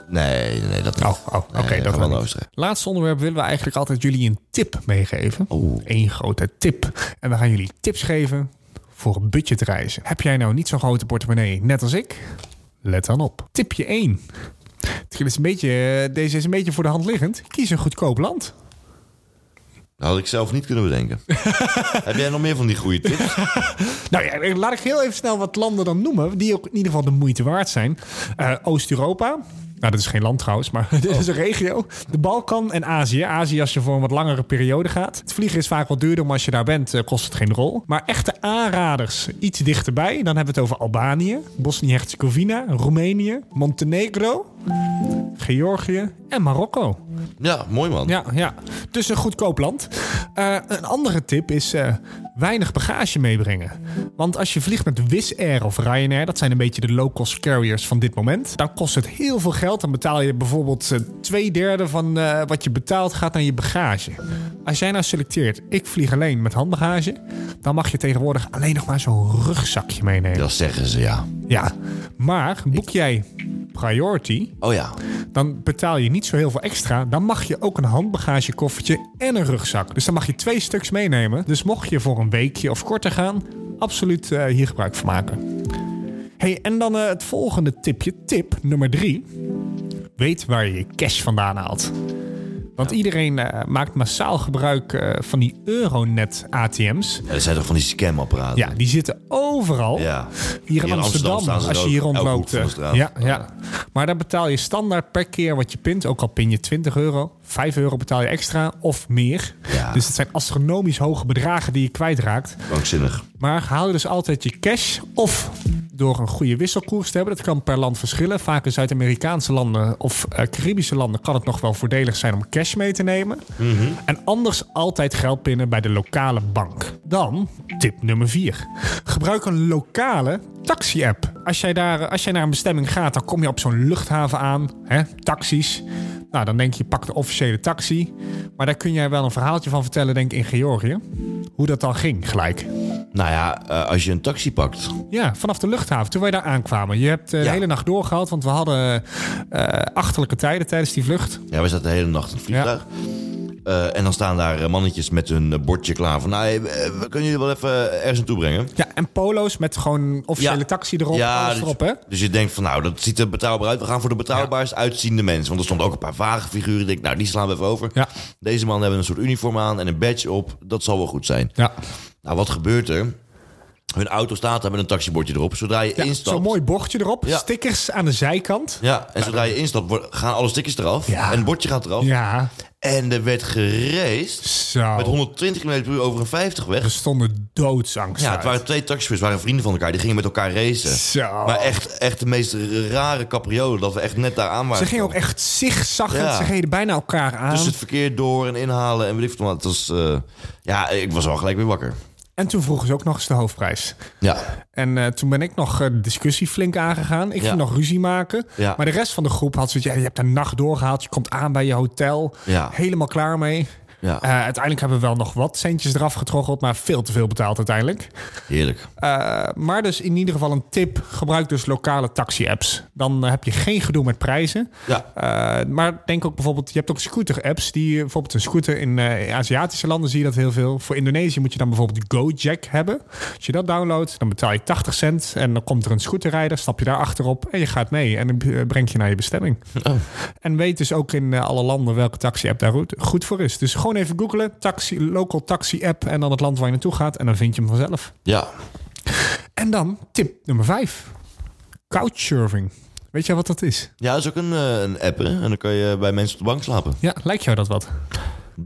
Nee, nee, dat niet. Oh, oh oké. Nee, dat gaan we wel naar niet. Oostenrijk. Laatste onderwerp willen we eigenlijk altijd jullie een tip meegeven. Eén grote tip. En we gaan jullie tips geven voor budgetreizen. Heb jij nou niet zo'n grote portemonnee, net als ik? Let dan op. Tipje 1. Het is een beetje, eh, deze is een beetje voor de hand liggend. Kies een goedkoop land. Dat had ik zelf niet kunnen [laughs] bedenken. Heb jij nog meer van die goede tips? Nou ja, laat ik heel even snel wat landen dan noemen. Die ook in ieder geval de moeite waard zijn. Eh, Oost-Europa. Nou, dat is geen land trouwens, maar [laughs] dit is een regio. De Balkan en Azië. Azië als je voor een wat langere periode gaat. Het vliegen is vaak wat duurder, maar als je daar bent eh, kost het geen rol. Maar echte aanraders iets dichterbij. Dan hebben we het over Albanië, Bosnië-Herzegovina, Roemenië, Montenegro, Georgië en Marokko. Ja, mooi man. Ja, ja. Dus een goedkoop land. Eh, een andere tip is eh, weinig bagage meebrengen. Want als je vliegt met Wizz Air of Ryanair, dat zijn een beetje de low-cost carriers van dit moment, dan kost het heel veel geld. Dan betaal je bijvoorbeeld eh, twee derde van eh, wat je betaalt gaat naar je bagage. Als jij nou selecteert, ik vlieg alleen met handbagage, dan mag je tegenwoordig alleen nog maar zo'n rugzakje meenemen. Dat zeggen ze, ja. Ja, maar boek jij priority. Oh ja. Dan betaal je niet zo heel veel extra. Dan mag je ook een handbagagekoffertje en een rugzak. Dus dan mag je twee stuks meenemen. Dus mocht je voor een weekje of korter gaan, absoluut eh, hier gebruik van maken. Hey, en dan eh, het volgende tipje. Tip nummer drie. Weet waar je je cash vandaan haalt. Want iedereen eh, maakt massaal gebruik eh, van die Euronet-ATM's. Ja, dat zijn toch van die scamapparaten? Ja, die zitten overal. Hier in, Hier in Amsterdam, Amsterdam staan ze als er je hier ook, elke hoek rondloopt. van de eh, straat. ja, ja. Maar daar betaal je standaard per keer wat je pint. Ook al pin je 20 euro, 5 euro betaal je extra of meer. Dus het zijn astronomisch hoge bedragen die je kwijtraakt. Waanzinnig. Maar hou dus altijd je cash of door een goede wisselkoers te hebben. Dat kan per land verschillen. Vaak in Zuid-Amerikaanse landen of eh, Caribische landen kan het nog wel voordelig zijn om cash mee te nemen. En anders altijd geld pinnen bij de lokale bank. Dan tip nummer 4. Gebruik een lokale taxi-app. Als jij, daar, eh, als jij naar een bestemming gaat, dan kom je op zo'n luchthaven aan. Hè, taxis. Nou, dan denk je, pak de officiële taxi. Maar daar kun jij wel een verhaaltje van vertellen, denk ik, in Georgië. Hoe dat dan ging, gelijk. Nou ja, eh, als je een taxi pakt. Ja, vanaf de luchthaven, toen wij daar aankwamen. Je hebt eh, de hele nacht doorgehaald, want we hadden eh, achterlijke tijden tijdens die vlucht. Ja, we zaten de hele nacht in het vliegtuig. Eh, en dan staan daar eh, mannetjes met hun eh, bordje klaar van... Nou, hey, we, we kunnen jullie wel even ergens naartoe brengen. Ja, en polo's met gewoon officiële Ja. taxi erop, alles dus, erop, hè? dus je denkt van nou, dat ziet er betrouwbaar uit. We gaan voor de betrouwbaarst uitziende mensen. Want er stonden ook een paar vage figuren. Ik denk, nou, die slaan we even over. Deze mannen hebben een soort uniform aan en een badge op. Dat zal wel goed zijn. Nou, wat gebeurt er? Hun auto staat daar met een taxibordje erop. Zodra je Ja, instapt... Zo'n mooi bochtje erop, stickers aan de zijkant. Ja, en zodra je instapt, wo- gaan alle stickers eraf. En het bordje gaat eraf. Ja. En er werd geraced met 120 km per uur over een 50 weg. Er stonden doodsangst Ja, uit. het waren twee taxichauffeurs, waren vrienden van elkaar. Die gingen met elkaar racen. Zo. Maar echt, echt de meest rare capriolen dat we echt net daar aan waren. Ze gingen ook echt zigzaggend, Ja. ze gingen bijna elkaar aan. Dus het verkeer door en inhalen en weet ik veel wat. Het was, eh, ja, ik was wel gelijk weer wakker. En toen vroegen ze ook nog eens de hoofdprijs. Ja. En eh, toen ben ik nog eh, de discussie flink aangegaan. Ik Ja. ging nog ruzie maken. Ja. Maar de rest van de groep had zoiets... Ja, je hebt een nacht doorgehaald. Je komt aan bij je hotel. Ja. Helemaal klaar mee. Ja. Eh, uiteindelijk hebben we wel nog wat centjes eraf getroggeld... maar veel te veel betaald uiteindelijk. Heerlijk. Eh, maar dus in ieder geval een tip. Gebruik dus lokale taxi-apps. Dan eh, heb je geen gedoe met prijzen. Ja. Eh, maar denk ook bijvoorbeeld... je hebt ook scooter-apps. die eh, Bijvoorbeeld een scooter in eh, Aziatische landen zie je dat heel veel. Voor Indonesië moet je dan bijvoorbeeld Gojek hebben. Als je dat downloadt, dan betaal je 80 cent... en dan komt er een scooterrijder, stap je daar achterop... en je gaat mee en dan eh, brengt je naar je bestemming. En weet dus ook in eh, alle landen welke taxi-app daar goed- goed voor is. Dus gewoon even googlen, taxi, local taxi-app... en dan het land waar je naartoe gaat en dan vind je hem vanzelf. Ja. En dan tip nummer 5. Couchsurfing. Weet jij wat dat is? Ja, dat is ook een, eh, een app, hè? En dan kan je bij mensen op de bank slapen. Ja, lijkt jou dat wat?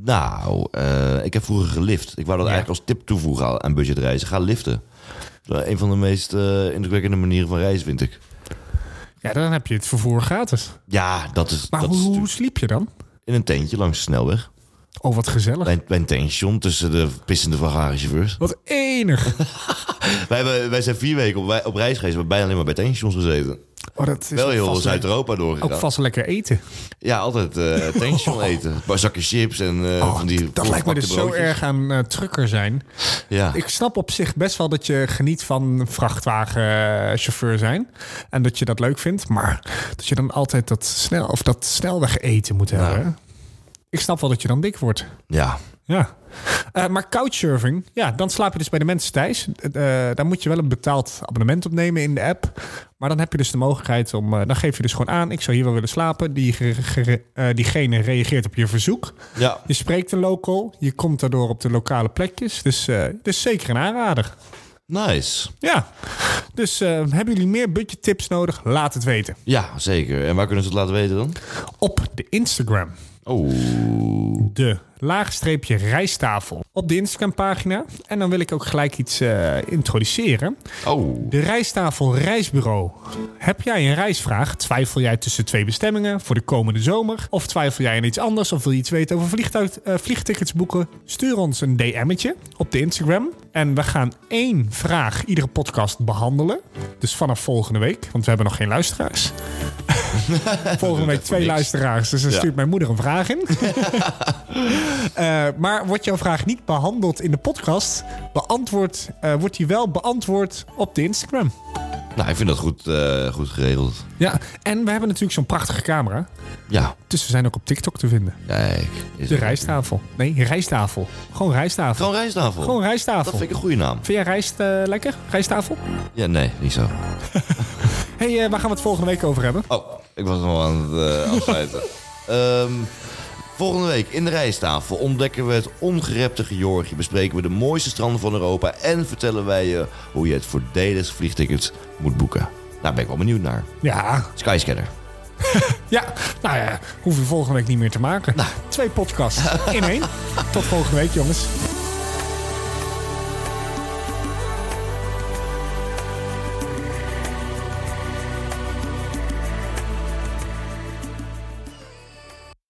Nou, eh, ik heb vroeger gelift. Ik wou dat eigenlijk als tip toevoegen aan- aan budgetreizen. Ga liften. Dat is Een van de meest eh, indrukwekkende manieren van reizen, vind ik. Ja, dan heb je het vervoer gratis. Ja, dat is... Maar dat hoe, is hoe sliep je dan? In een tentje langs de snelweg. Oh, wat gezellig. Bij, bij een tension tussen de pissende vrachtwagenchauffeurs. Wat [laughs] enig. wij, hebben- wij zijn vier weken op, wij- op reis geweest. We hebben bijna alleen maar bij tensions gezeten. Oh, dat is Wel ook heel vast Zuid-Europa doorgegaan. Ook vast lekker eten. Ja, altijd [laughs] eh tension eten. Een paar zakken chips en eh, van die Dat lijkt me dus zo broodjes. erg aan eh, trucker zijn. Ja. Ik snap op zich best wel dat je geniet van een vrachtwagenchauffeur zijn. En dat je dat leuk vindt. Maar dat je dan altijd dat, snel, of dat snelweg eten moet hebben. hè? Ik snap wel dat je dan dik wordt. Ja. Ja. Eh, maar couchsurfing, ja, dan slaap je dus bij de mensen thuis. Eh, eh, daar moet je wel een betaald abonnement op nemen in de app. Maar dan heb je dus de mogelijkheid om... eh, dan geef je dus gewoon aan, ik zou hier wel willen slapen. Die, ge- ge- eh, diegene reageert op je verzoek. Ja. Je spreekt een local. Je komt daardoor op de lokale plekjes. Dus, eh dus zeker een aanrader. Nice. Ja. Dus eh, hebben jullie meer budgettips nodig? Laat het weten. Ja, zeker. En waar kunnen ze het laten weten dan? Op de Instagram. Oh. De laagstreepje rijsttafel op de Instagram-pagina. En dan wil ik ook gelijk iets eh, introduceren. Oh. De rijsttafel Reisbureau. Heb jij een reisvraag? Twijfel jij tussen twee bestemmingen voor de komende zomer? Of twijfel jij aan iets anders? Of wil je iets weten over vliegtuig, eh, vliegtickets boeken? Stuur ons een DM'tje op de Instagram. En we gaan één vraag iedere podcast behandelen. Dus vanaf volgende week, want we hebben nog geen luisteraars. Volgende week twee luisteraars, dus dan Ja. stuurt mijn moeder een vraag [laughs] in. Eh, maar wordt jouw vraag niet behandeld in de podcast, beantwoord, eh, wordt die wel beantwoord op de Instagram. Nou, ik vind dat goed, eh, goed geregeld. Ja, en we hebben natuurlijk zo'n prachtige camera. Ja. Dus we zijn ook op TikTok te vinden. Kijk. is De het- rijsttafel. Nee, rijsttafel. Gewoon rijsttafel. Gewoon rijsttafel. Gewoon rijsttafel. Dat vind ik een goede naam. Vind jij rijst eh, lekker? Rijsttafel? Ja, nee, niet zo. hey, eh, waar gaan we het volgende week over hebben? Oh, ik was nog aan het eh, [laughs] afsluiten. Ehm, volgende week in de rijsttafel ontdekken we het ongerepte Georgië. Bespreken we de mooiste stranden van Europa. En vertellen wij je hoe je het voordelig vliegticket moet boeken. Daar ben ik wel benieuwd naar. Ja. Skyscanner. Ja, nou Nou. [laughs] ja, hoeven we volgende week niet meer te maken. Twee podcasts in één. Tot volgende week, jongens.